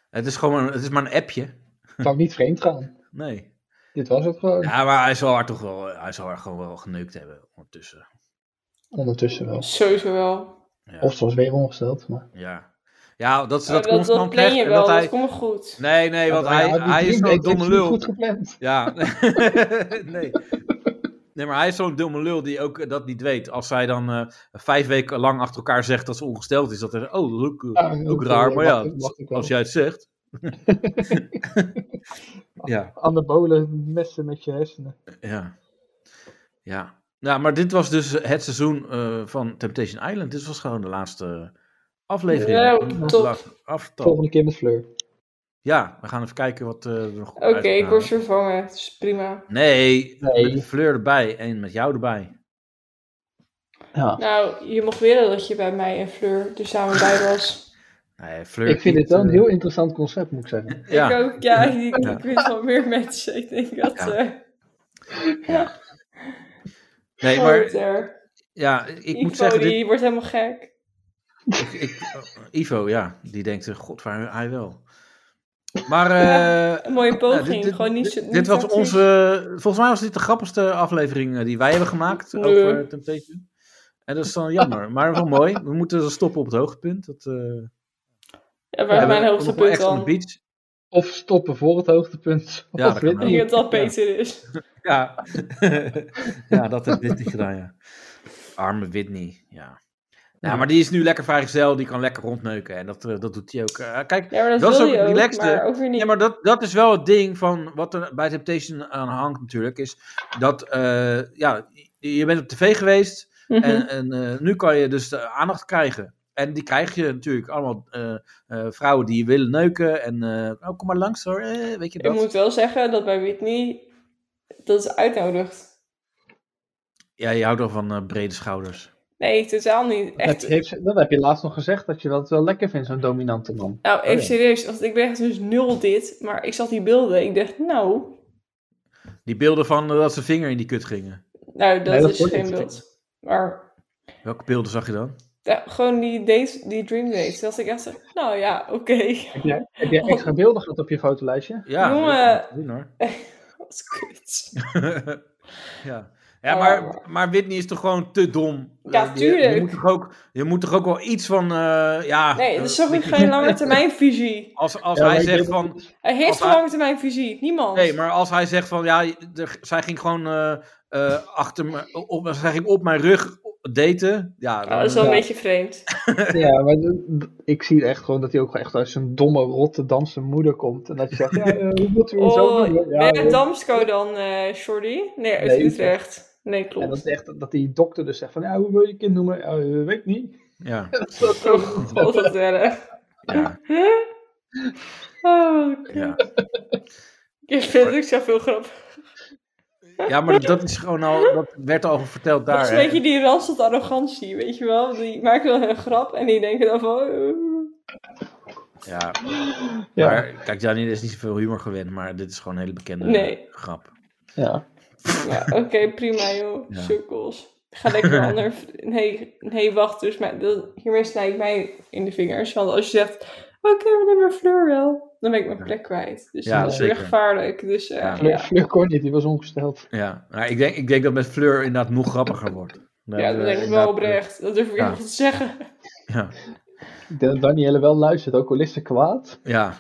Speaker 2: Het is gewoon een- het is maar een appje.
Speaker 3: Kan niet vreemd gaan.
Speaker 2: Nee.
Speaker 3: Dit was het gewoon.
Speaker 2: Ja, maar hij zal haar toch wel, hij zal haar gewoon wel geneukt hebben ondertussen.
Speaker 3: Ondertussen wel.
Speaker 4: Sowieso wel.
Speaker 3: Of ze was weer ongesteld. Maar...
Speaker 2: Ja. Ja, dat ze
Speaker 4: Maar
Speaker 2: dat,
Speaker 4: dat, dat
Speaker 2: constant
Speaker 4: plan
Speaker 2: krijgt
Speaker 4: je
Speaker 2: en
Speaker 4: wel,
Speaker 2: dat
Speaker 4: dat,
Speaker 2: hij...
Speaker 4: komt goed.
Speaker 2: Nee, nee, want
Speaker 3: Ja,
Speaker 2: hij,
Speaker 3: hij had die
Speaker 2: hij is
Speaker 3: dreamdate,
Speaker 2: zo'n
Speaker 3: heeft
Speaker 2: domme
Speaker 3: hij
Speaker 2: lul.
Speaker 3: goed gepland.
Speaker 2: Ja. nee. Nee, maar hij is zo'n domme lul die ook eh, dat niet weet. Als zij dan eh, vijf weken lang achter elkaar zegt dat ze ongesteld is, dat er, oh, dat is ook, eh,
Speaker 3: Ja, dat
Speaker 2: ook
Speaker 3: is,
Speaker 2: raar.
Speaker 3: eh,
Speaker 2: Maar ja,
Speaker 3: mag ik- mag ik wel.
Speaker 2: als jij het zegt. ja,
Speaker 3: Anabolen messen met je hersenen.
Speaker 2: ja. Ja. Ja, maar dit was dus het seizoen eh, van Temptation Island. Dit was gewoon de laatste aflevering.
Speaker 4: Ja,
Speaker 2: De
Speaker 4: top.
Speaker 2: laatste aftrap.
Speaker 3: Volgende keer met Fleur.
Speaker 2: Ja, we gaan even kijken wat eh, er nog
Speaker 4: Oké,
Speaker 2: uitkomt.
Speaker 4: ik word vervangen. Dat is prima.
Speaker 2: Nee, met Fleur erbij en met jou erbij.
Speaker 3: Ja.
Speaker 4: Nou, je mocht willen dat je bij mij en Fleur er samen bij was.
Speaker 2: Nee, Fleur
Speaker 3: ik vind
Speaker 2: niet,
Speaker 3: dit wel een
Speaker 2: eh,
Speaker 3: heel interessant concept, moet ik zeggen.
Speaker 2: Ja.
Speaker 4: Ik ook, ja, ik,
Speaker 2: Ja.
Speaker 4: ik weet wel meer mensen. Ik denk dat.
Speaker 2: Ja.
Speaker 4: eh
Speaker 2: Nee,
Speaker 4: Groter.
Speaker 2: maar ja, ik
Speaker 4: Ivo,
Speaker 2: moet zeggen,
Speaker 4: oh, die
Speaker 2: dit,
Speaker 4: wordt helemaal gek.
Speaker 2: ik, ik- Ivo, ja, die denkt, eh, god, waar hij wel. Maar eh,
Speaker 4: Een mooie
Speaker 2: nou,
Speaker 4: poging. Gewoon niet, zo- niet
Speaker 2: dit was
Speaker 4: tactisch.
Speaker 2: onze, volgens mij was dit de grappigste aflevering eh, die wij hebben gemaakt
Speaker 4: Nee.
Speaker 2: over Temptation. En dat is dan jammer, maar wel mooi. We moeten dan stoppen op het hoogtepunt. Dat, eh,
Speaker 4: Ja,
Speaker 2: we
Speaker 4: waar is mijn
Speaker 2: hebben nog wel
Speaker 4: hoogtepunt
Speaker 2: echt on the
Speaker 4: dan?
Speaker 2: beach.
Speaker 3: Of stoppen voor het hoogtepunt.
Speaker 2: Ja,
Speaker 3: Of
Speaker 2: dat
Speaker 3: weet
Speaker 2: kan
Speaker 4: Ik
Speaker 3: niet.
Speaker 4: denk dat dat beter is.
Speaker 2: Ja. ja, dat heeft Whitney gedaan, ja. Arme Whitney, ja. Nou, maar die is nu lekker vrijgezel, die kan lekker rondneuken en dat, eh, dat doet hij ook. Eh, kijk,
Speaker 4: Ja, maar dat,
Speaker 2: is
Speaker 4: wil
Speaker 2: ook
Speaker 4: je
Speaker 2: het
Speaker 4: ook,
Speaker 2: relaxte.
Speaker 4: maar ook weer niet.
Speaker 2: Ja, maar dat, dat is wel het ding van wat er bij Temptation aan hangt natuurlijk, is dat eh, ja, je je bent op tv geweest
Speaker 4: Mhm.
Speaker 2: en, en eh, nu kan je dus de aandacht krijgen. En die krijg je natuurlijk allemaal eh, eh, vrouwen die je willen neuken en eh, oh, kom maar langs hoor, eh, weet je
Speaker 4: Ik
Speaker 2: dat.
Speaker 4: moet wel zeggen dat bij Whitney dat is uitnodigt.
Speaker 2: Ja, je houdt wel van eh, brede schouders.
Speaker 4: Nee, totaal niet.
Speaker 3: Dat
Speaker 4: Echt.
Speaker 3: heb, heeft ze- dat heb je laatst nog gezegd, dat je dat wel lekker vindt, zo'n dominante man.
Speaker 4: Nou, even
Speaker 3: Oh, ja.
Speaker 4: serieus, want ik ben echt dus nul dit, maar ik zag die beelden. Ik dacht, nou,
Speaker 2: Die beelden van eh, dat zijn vinger in die kut gingen.
Speaker 4: nou dat,
Speaker 2: Nee, dat
Speaker 4: is
Speaker 2: wordt
Speaker 4: geen
Speaker 2: niet.
Speaker 4: beeld. Maar
Speaker 2: Welke beelden zag je dan?
Speaker 4: ja, gewoon die, date, die dream date, dat ik echt zeg, nou ja, oké.
Speaker 3: Heb jij, heb jij extra beelden gehad op je fotolijstje?
Speaker 2: Ja,
Speaker 4: Jongen.
Speaker 2: dat doen hoor.
Speaker 4: Wat kut.
Speaker 2: ja. Ja, maar, maar Whitney is toch gewoon te dom.
Speaker 4: Oh. Ja,
Speaker 2: Eh, je- je
Speaker 4: tuurlijk.
Speaker 2: moet toch ook- Je moet toch ook wel iets van, eh, ja...
Speaker 4: Nee, dat is toch
Speaker 2: eh,
Speaker 4: weer geen lange termijn visie.
Speaker 2: Als, als
Speaker 4: Ja,
Speaker 2: hij
Speaker 4: maar ik
Speaker 2: zegt
Speaker 4: weet
Speaker 2: van...
Speaker 4: Hij heeft
Speaker 2: Als
Speaker 4: geen
Speaker 2: hij-
Speaker 4: lange termijn visie, niemand.
Speaker 2: Nee, maar als hij zegt van, ja, er- zij ging gewoon eh, eh, achter me, op, zij ging op mijn rug daten. Ja,
Speaker 4: Nou, dat is wel een beetje vreemd.
Speaker 3: Ja, maar d- d- ik zie echt gewoon dat hij ook echt uit zijn domme Rotterdamse moeder komt. En dat je zegt, ja, eh, hoe moeten we hier zo
Speaker 4: Oh,
Speaker 3: doen? Ja,
Speaker 4: ben je
Speaker 3: ja.
Speaker 4: uit Damsko dan, eh Shorty? Nee, uit
Speaker 3: Nee,
Speaker 4: Utrecht. Nee,
Speaker 3: En
Speaker 4: klopt.
Speaker 3: dat, is echt, dat die dokter dus zegt van, ja, hoe wil je je kind noemen? Ja, eh, weet ik niet.
Speaker 2: Ja.
Speaker 4: Oh, god, wat erg.
Speaker 2: Ja.
Speaker 4: eh, Oh, wat
Speaker 2: Ja.
Speaker 4: Ik vind het ook zoveel grappig.
Speaker 2: ja, maar dat is gewoon al... Dat werd al verteld daar.
Speaker 4: dat is een
Speaker 2: hè.
Speaker 4: beetje die ranstad arrogantie, weet je wel? Die maken dan een grap en die denken dan van... eh,
Speaker 2: Ja.
Speaker 3: Ja.
Speaker 2: Maar kijk, Janine is niet zoveel humor gewend, maar dit is gewoon een hele bekende
Speaker 4: Nee.
Speaker 2: grap.
Speaker 3: Ja.
Speaker 4: ja, Oké, prima joh,
Speaker 2: Ja.
Speaker 4: sukkels. Ga lekker een ander... Nee, nee, wacht dus. Maar dat, hiermee snij ik mij in de vingers. Want als je zegt, Oké, we nemen Fleur wel. Dan ben ik mijn plek kwijt. Dus
Speaker 2: Ja,
Speaker 4: dat is weer
Speaker 2: zeker.
Speaker 4: gevaarlijk. Dus eh,
Speaker 2: Ja.
Speaker 4: ja.
Speaker 3: Fleur, Fleur kon niet, die was ongesteld.
Speaker 2: Ja, maar ik denk, ik denk dat met Fleur inderdaad nog grappiger wordt.
Speaker 4: Ja, dat denk ik wel oprecht. Dat durf ik
Speaker 2: Ja.
Speaker 4: echt niet te zeggen.
Speaker 3: Ik denk dat Danielle wel luistert, ook al is ze kwaad.
Speaker 2: Ja.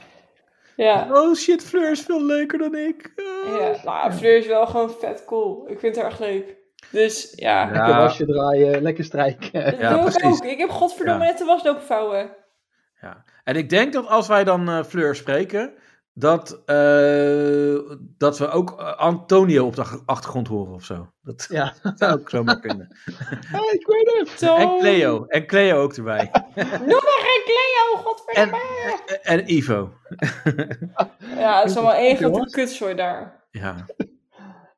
Speaker 4: Ja.
Speaker 2: Oh shit, Fleur is veel leuker dan ik.
Speaker 4: Ja, nou, Fleur is wel gewoon vet cool. Ik vind haar echt leuk. Dus ja.
Speaker 3: Lekker wasje draaien, lekker strijken.
Speaker 4: Dat doe ik ook. Ik heb godverdomme
Speaker 2: Ja.
Speaker 4: net de was lopen vouwen.
Speaker 2: En ik denk dat als wij dan eh, Fleur spreken, dat, eh, dat we ook eh, Antonio op de ach- achtergrond horen of zo. Dat
Speaker 3: ja.
Speaker 2: zou ook zomaar kunnen.
Speaker 3: ik weet het.
Speaker 2: En Cleo. En Cleo ook erbij.
Speaker 4: Noem maar geen Cleo, godverdomme.
Speaker 2: En Ivo.
Speaker 4: Ja, het is allemaal één grote
Speaker 3: Jongens.
Speaker 4: kutzooi daar.
Speaker 2: Ja.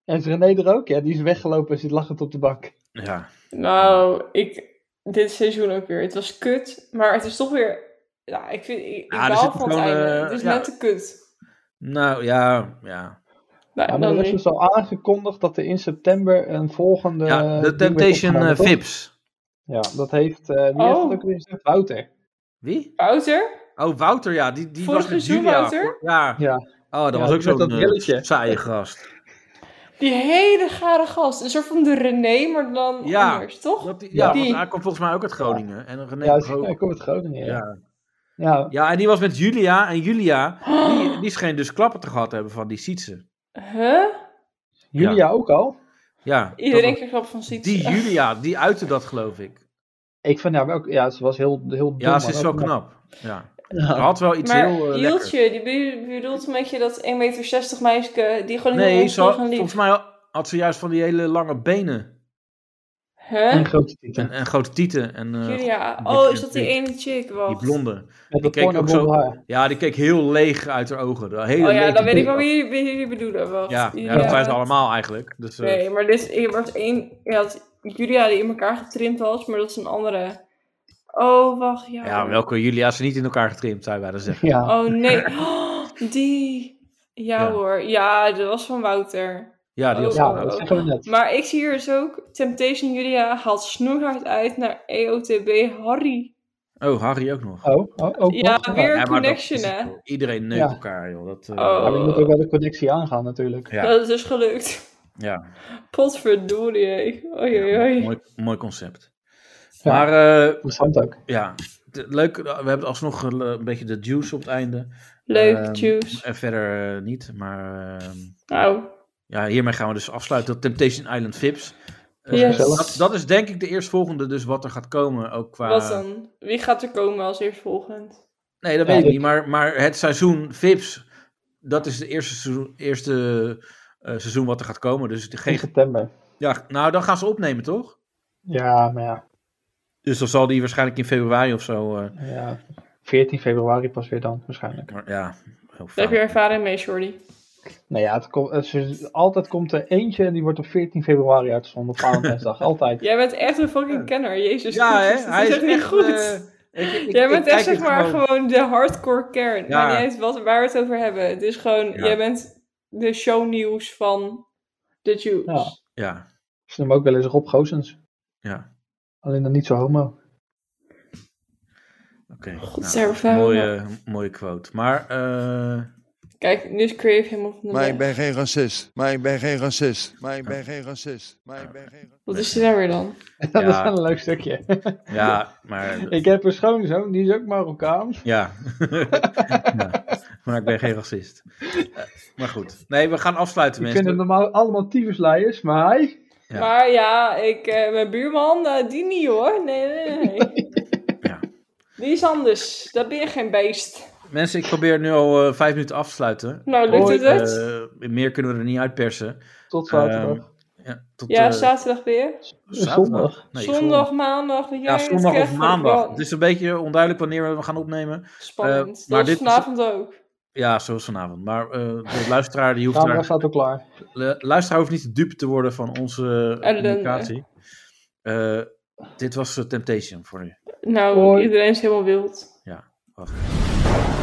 Speaker 3: En is René er ook? Ja, die is weggelopen en zit lachend op de bank.
Speaker 2: Ja.
Speaker 4: Nou, ik, dit seizoen ook weer. Het was kut, maar het is toch weer... Ja, ik vind... Ik, ik
Speaker 2: Ja, er
Speaker 4: baal
Speaker 2: zitten
Speaker 4: van het
Speaker 2: gewoon,
Speaker 4: einde.
Speaker 2: eh,
Speaker 4: het is
Speaker 2: ja.
Speaker 4: net te kut.
Speaker 2: Nou ja, ja.
Speaker 4: Nou,
Speaker 3: Ja, maar er is dus al aangekondigd dat er in september een volgende...
Speaker 2: Ja,
Speaker 3: ding
Speaker 2: de
Speaker 3: wordt
Speaker 2: Temptation
Speaker 3: opgenomen,
Speaker 2: eh,
Speaker 3: toch?
Speaker 2: Vips.
Speaker 3: Ja, dat heeft... eh, wie heeft dat ook weer gezegd? Wouter.
Speaker 2: Wie?
Speaker 4: Wouter?
Speaker 2: Oh, Wouter, ja. Die, die
Speaker 4: Vorig
Speaker 2: was met
Speaker 4: seizoen,
Speaker 2: Julia.
Speaker 4: Wouter?
Speaker 2: Ja. Oh, dat
Speaker 3: Ja,
Speaker 2: was ook
Speaker 3: die met
Speaker 2: zo'n
Speaker 3: dat
Speaker 2: eh, saaie gast.
Speaker 4: Die hele gare gast. Een soort van de René, maar dan
Speaker 2: Ja,
Speaker 4: anders, toch?
Speaker 2: Ja,
Speaker 4: Die-
Speaker 2: want hij komt volgens mij ook uit Groningen. En René
Speaker 3: Ja,
Speaker 2: Bro-
Speaker 3: hij komt uit Groningen. Ja.
Speaker 2: Ja.
Speaker 3: Ja.
Speaker 2: ja, en die was met Julia. En Julia,
Speaker 4: Oh.
Speaker 2: die, die scheen dus klappen te gehad te hebben van die Sietse.
Speaker 4: Huh?
Speaker 3: Julia
Speaker 2: Ja.
Speaker 3: ook al?
Speaker 2: Ja, dat
Speaker 4: Iedereen
Speaker 2: was-
Speaker 4: kreeg grap van ziet.
Speaker 2: die Julia, die uitte dat geloof ik.
Speaker 3: Ik vind haar wel... Ja, ze was heel, heel dom.
Speaker 2: Ja, ze
Speaker 3: maar
Speaker 2: is wel
Speaker 3: ook
Speaker 2: knap. Ja.
Speaker 3: Ja.
Speaker 2: Ze had wel iets
Speaker 4: maar
Speaker 2: heel eh, lekkers.
Speaker 4: Hieltje, die be- bedoelt een beetje dat 1,60 meter meisje die gewoon in
Speaker 2: Nee,
Speaker 4: de
Speaker 2: ze
Speaker 4: zon
Speaker 2: had-
Speaker 4: gaan
Speaker 2: volgens
Speaker 4: liep.
Speaker 2: mij had ze juist van die hele lange benen.
Speaker 4: Huh?
Speaker 3: grote
Speaker 2: tieten. En, en grote tieten. En, eh,
Speaker 4: Julia.
Speaker 2: dik
Speaker 4: Oh,
Speaker 2: en
Speaker 4: is dat die
Speaker 2: dik.
Speaker 4: ene chick?
Speaker 2: Die
Speaker 4: Wacht.
Speaker 2: blonde.
Speaker 3: Met
Speaker 2: die
Speaker 3: dat pornoblonde haar.
Speaker 2: Ja, die keek heel leeg uit haar ogen. Een Hele
Speaker 4: oh ja,
Speaker 2: lege
Speaker 4: dan weet ik
Speaker 2: blik.
Speaker 4: wel wie wie jullie bedoelen. Wacht.
Speaker 2: Ja, ja,
Speaker 4: Julia.
Speaker 2: dat zijn ze allemaal eigenlijk. Dus, eh,
Speaker 4: Nee, maar dit er was één. Je had Julia die in elkaar getrimd was, maar dat is een andere. Oh, wacht. Ja.
Speaker 2: ja, welke Julia is niet in elkaar getrimd, zou je bijna zeggen.
Speaker 4: Oh nee. Oh, die. Ja,
Speaker 2: Ja.
Speaker 4: hoor. Ja, dat was van Wouter.
Speaker 2: Ja, die was
Speaker 4: Oh,
Speaker 2: van
Speaker 4: oh,
Speaker 2: Wouter.
Speaker 4: oh.
Speaker 2: Dat zeggen we net.
Speaker 4: Maar ik zie hier dus ook Temptation Julia haalt snoeihard uit naar E EOTB Harry.
Speaker 2: Oh, Harry ook nog.
Speaker 3: Oh, oh, ook
Speaker 4: Ja,
Speaker 3: nog?
Speaker 4: weer
Speaker 2: maar
Speaker 4: een
Speaker 2: dat
Speaker 4: connection,
Speaker 2: is het,
Speaker 4: hè?
Speaker 2: joh. Iedereen neukt
Speaker 3: Ja.
Speaker 2: elkaar, joh. Dat, eh,
Speaker 4: Oh.
Speaker 3: Ja, maar je moet ook wel de connectie aangaan natuurlijk.
Speaker 2: ja.
Speaker 4: Dat is dus gelukt.
Speaker 2: ja.
Speaker 4: Potverdorie. hé. Oei, oei, oei.
Speaker 2: Mooi, mooi concept. Maar, eh
Speaker 3: Interessant ook.
Speaker 2: Ja, de- leuk. We hebben alsnog een eh, een beetje de juice op het einde.
Speaker 4: Leuk,
Speaker 2: Ehm,
Speaker 4: juice.
Speaker 2: En verder eh, niet, maar... ehm,
Speaker 4: Nou.
Speaker 2: Ja, hiermee gaan we dus afsluiten. Dat Temptation Island Vips. Eh,
Speaker 4: Yes.
Speaker 2: dat, dat is denk ik de eerstvolgende, dus wat er gaat komen. Ook qua...
Speaker 4: Wat dan? Wie gaat er komen als eerst volgend?
Speaker 2: Nee, dat
Speaker 4: Ja,
Speaker 2: weet ik
Speaker 4: ik-
Speaker 2: niet. Maar, maar het seizoen Vips, dat is het eerste, seizoen, eerste eh, seizoen wat er gaat komen. Dus het-
Speaker 3: In
Speaker 2: geen...
Speaker 3: september.
Speaker 2: ja, nou, dan gaan ze opnemen, toch?
Speaker 3: Ja, maar ja.
Speaker 2: Dus dan zal die waarschijnlijk in februari of zo. eh,
Speaker 3: ja. 14 februari pas weer dan, waarschijnlijk.
Speaker 2: maar ja, heel
Speaker 4: Daar
Speaker 2: fijn.
Speaker 4: heb je ervaring mee, Jordi.
Speaker 3: Nou ja, het komt- het is- altijd komt er eentje en die wordt op 14 februari uitgezonden op Valentijnsdag. Altijd.
Speaker 4: Jij bent echt een fucking kenner, jezus.
Speaker 2: Ja,
Speaker 4: Christus,
Speaker 2: hè?
Speaker 4: dat
Speaker 2: Hij
Speaker 4: is
Speaker 2: is
Speaker 4: echt niet
Speaker 2: echt,
Speaker 4: goed.
Speaker 2: eh,
Speaker 4: jij
Speaker 2: ik
Speaker 4: bent
Speaker 2: kijk
Speaker 4: echt zeg
Speaker 2: het
Speaker 4: maar
Speaker 2: gewoon.
Speaker 4: gewoon... de hardcore kern.
Speaker 2: Ja.
Speaker 4: Maar niet uit wat, waar we het over hebben. Het is gewoon,
Speaker 2: Ja.
Speaker 4: jij bent de shownieuws van de Jews.
Speaker 3: Ja.
Speaker 2: Ja,
Speaker 3: Ze noemen ook wel eens Rob Goosens.
Speaker 2: Ja.
Speaker 3: Alleen dan niet zo homo.
Speaker 2: oké.
Speaker 4: zijn we
Speaker 2: Nou,
Speaker 4: verder.
Speaker 2: mooie, mooie quote. Maar, eh,
Speaker 4: Kijk, nu is Crave helemaal van de
Speaker 14: Maar
Speaker 4: leg.
Speaker 14: ik ben geen racist. Maar ik ben geen racist. Maar ik ben geen racist. Maar ik ben geen
Speaker 4: Wat is dit nou weer dan?
Speaker 3: Dat is
Speaker 2: Ja.
Speaker 3: wel een leuk stukje.
Speaker 2: ja, maar...
Speaker 3: Ik heb een schoonzoon, die is ook Marokkaan.
Speaker 2: Ja. Ja. Maar ik ben geen racist. Eh, maar goed. Nee, we gaan afsluiten,
Speaker 3: Ik
Speaker 2: mensen.
Speaker 3: vind hem normaal allemaal tyfusleiers, maar hij...
Speaker 2: Ja.
Speaker 4: Maar ja, ik, eh, mijn buurman, eh, die niet hoor. Nee, nee, nee. Die is anders. Dat ben je geen beest.
Speaker 2: Mensen, ik probeer nu al eh, vijf minuten af te sluiten.
Speaker 4: Nou, lukt het
Speaker 2: Eh,
Speaker 4: het?
Speaker 2: meer kunnen we er niet uitpersen.
Speaker 3: Tot zaterdag.
Speaker 2: Ehm, ja, tot,
Speaker 4: Ja,
Speaker 2: eh,
Speaker 4: zaterdag weer.
Speaker 2: zaterdag. Nee,
Speaker 4: zondag, maandag. wat jij
Speaker 2: Ja,
Speaker 4: het
Speaker 2: zondag
Speaker 4: krijgt
Speaker 2: of
Speaker 4: van
Speaker 2: maandag.
Speaker 4: plan.
Speaker 2: Het is een beetje onduidelijk wanneer we gaan opnemen.
Speaker 4: Spannend.
Speaker 2: Eh,
Speaker 4: dat
Speaker 2: maar
Speaker 4: is
Speaker 2: dit
Speaker 4: vanavond ook.
Speaker 2: Ja, zoals vanavond. Maar eh, de luisteraar die
Speaker 3: De
Speaker 2: hoeft
Speaker 3: camera
Speaker 2: daar-
Speaker 3: staat al klaar.
Speaker 2: de luisteraar hoeft niet de dupe te worden van onze eh,
Speaker 4: Ellende.
Speaker 2: communicatie. Eh, dit was eh, Temptation voor nu.
Speaker 4: Nou, iedereen is helemaal wild.
Speaker 2: Ja, wacht.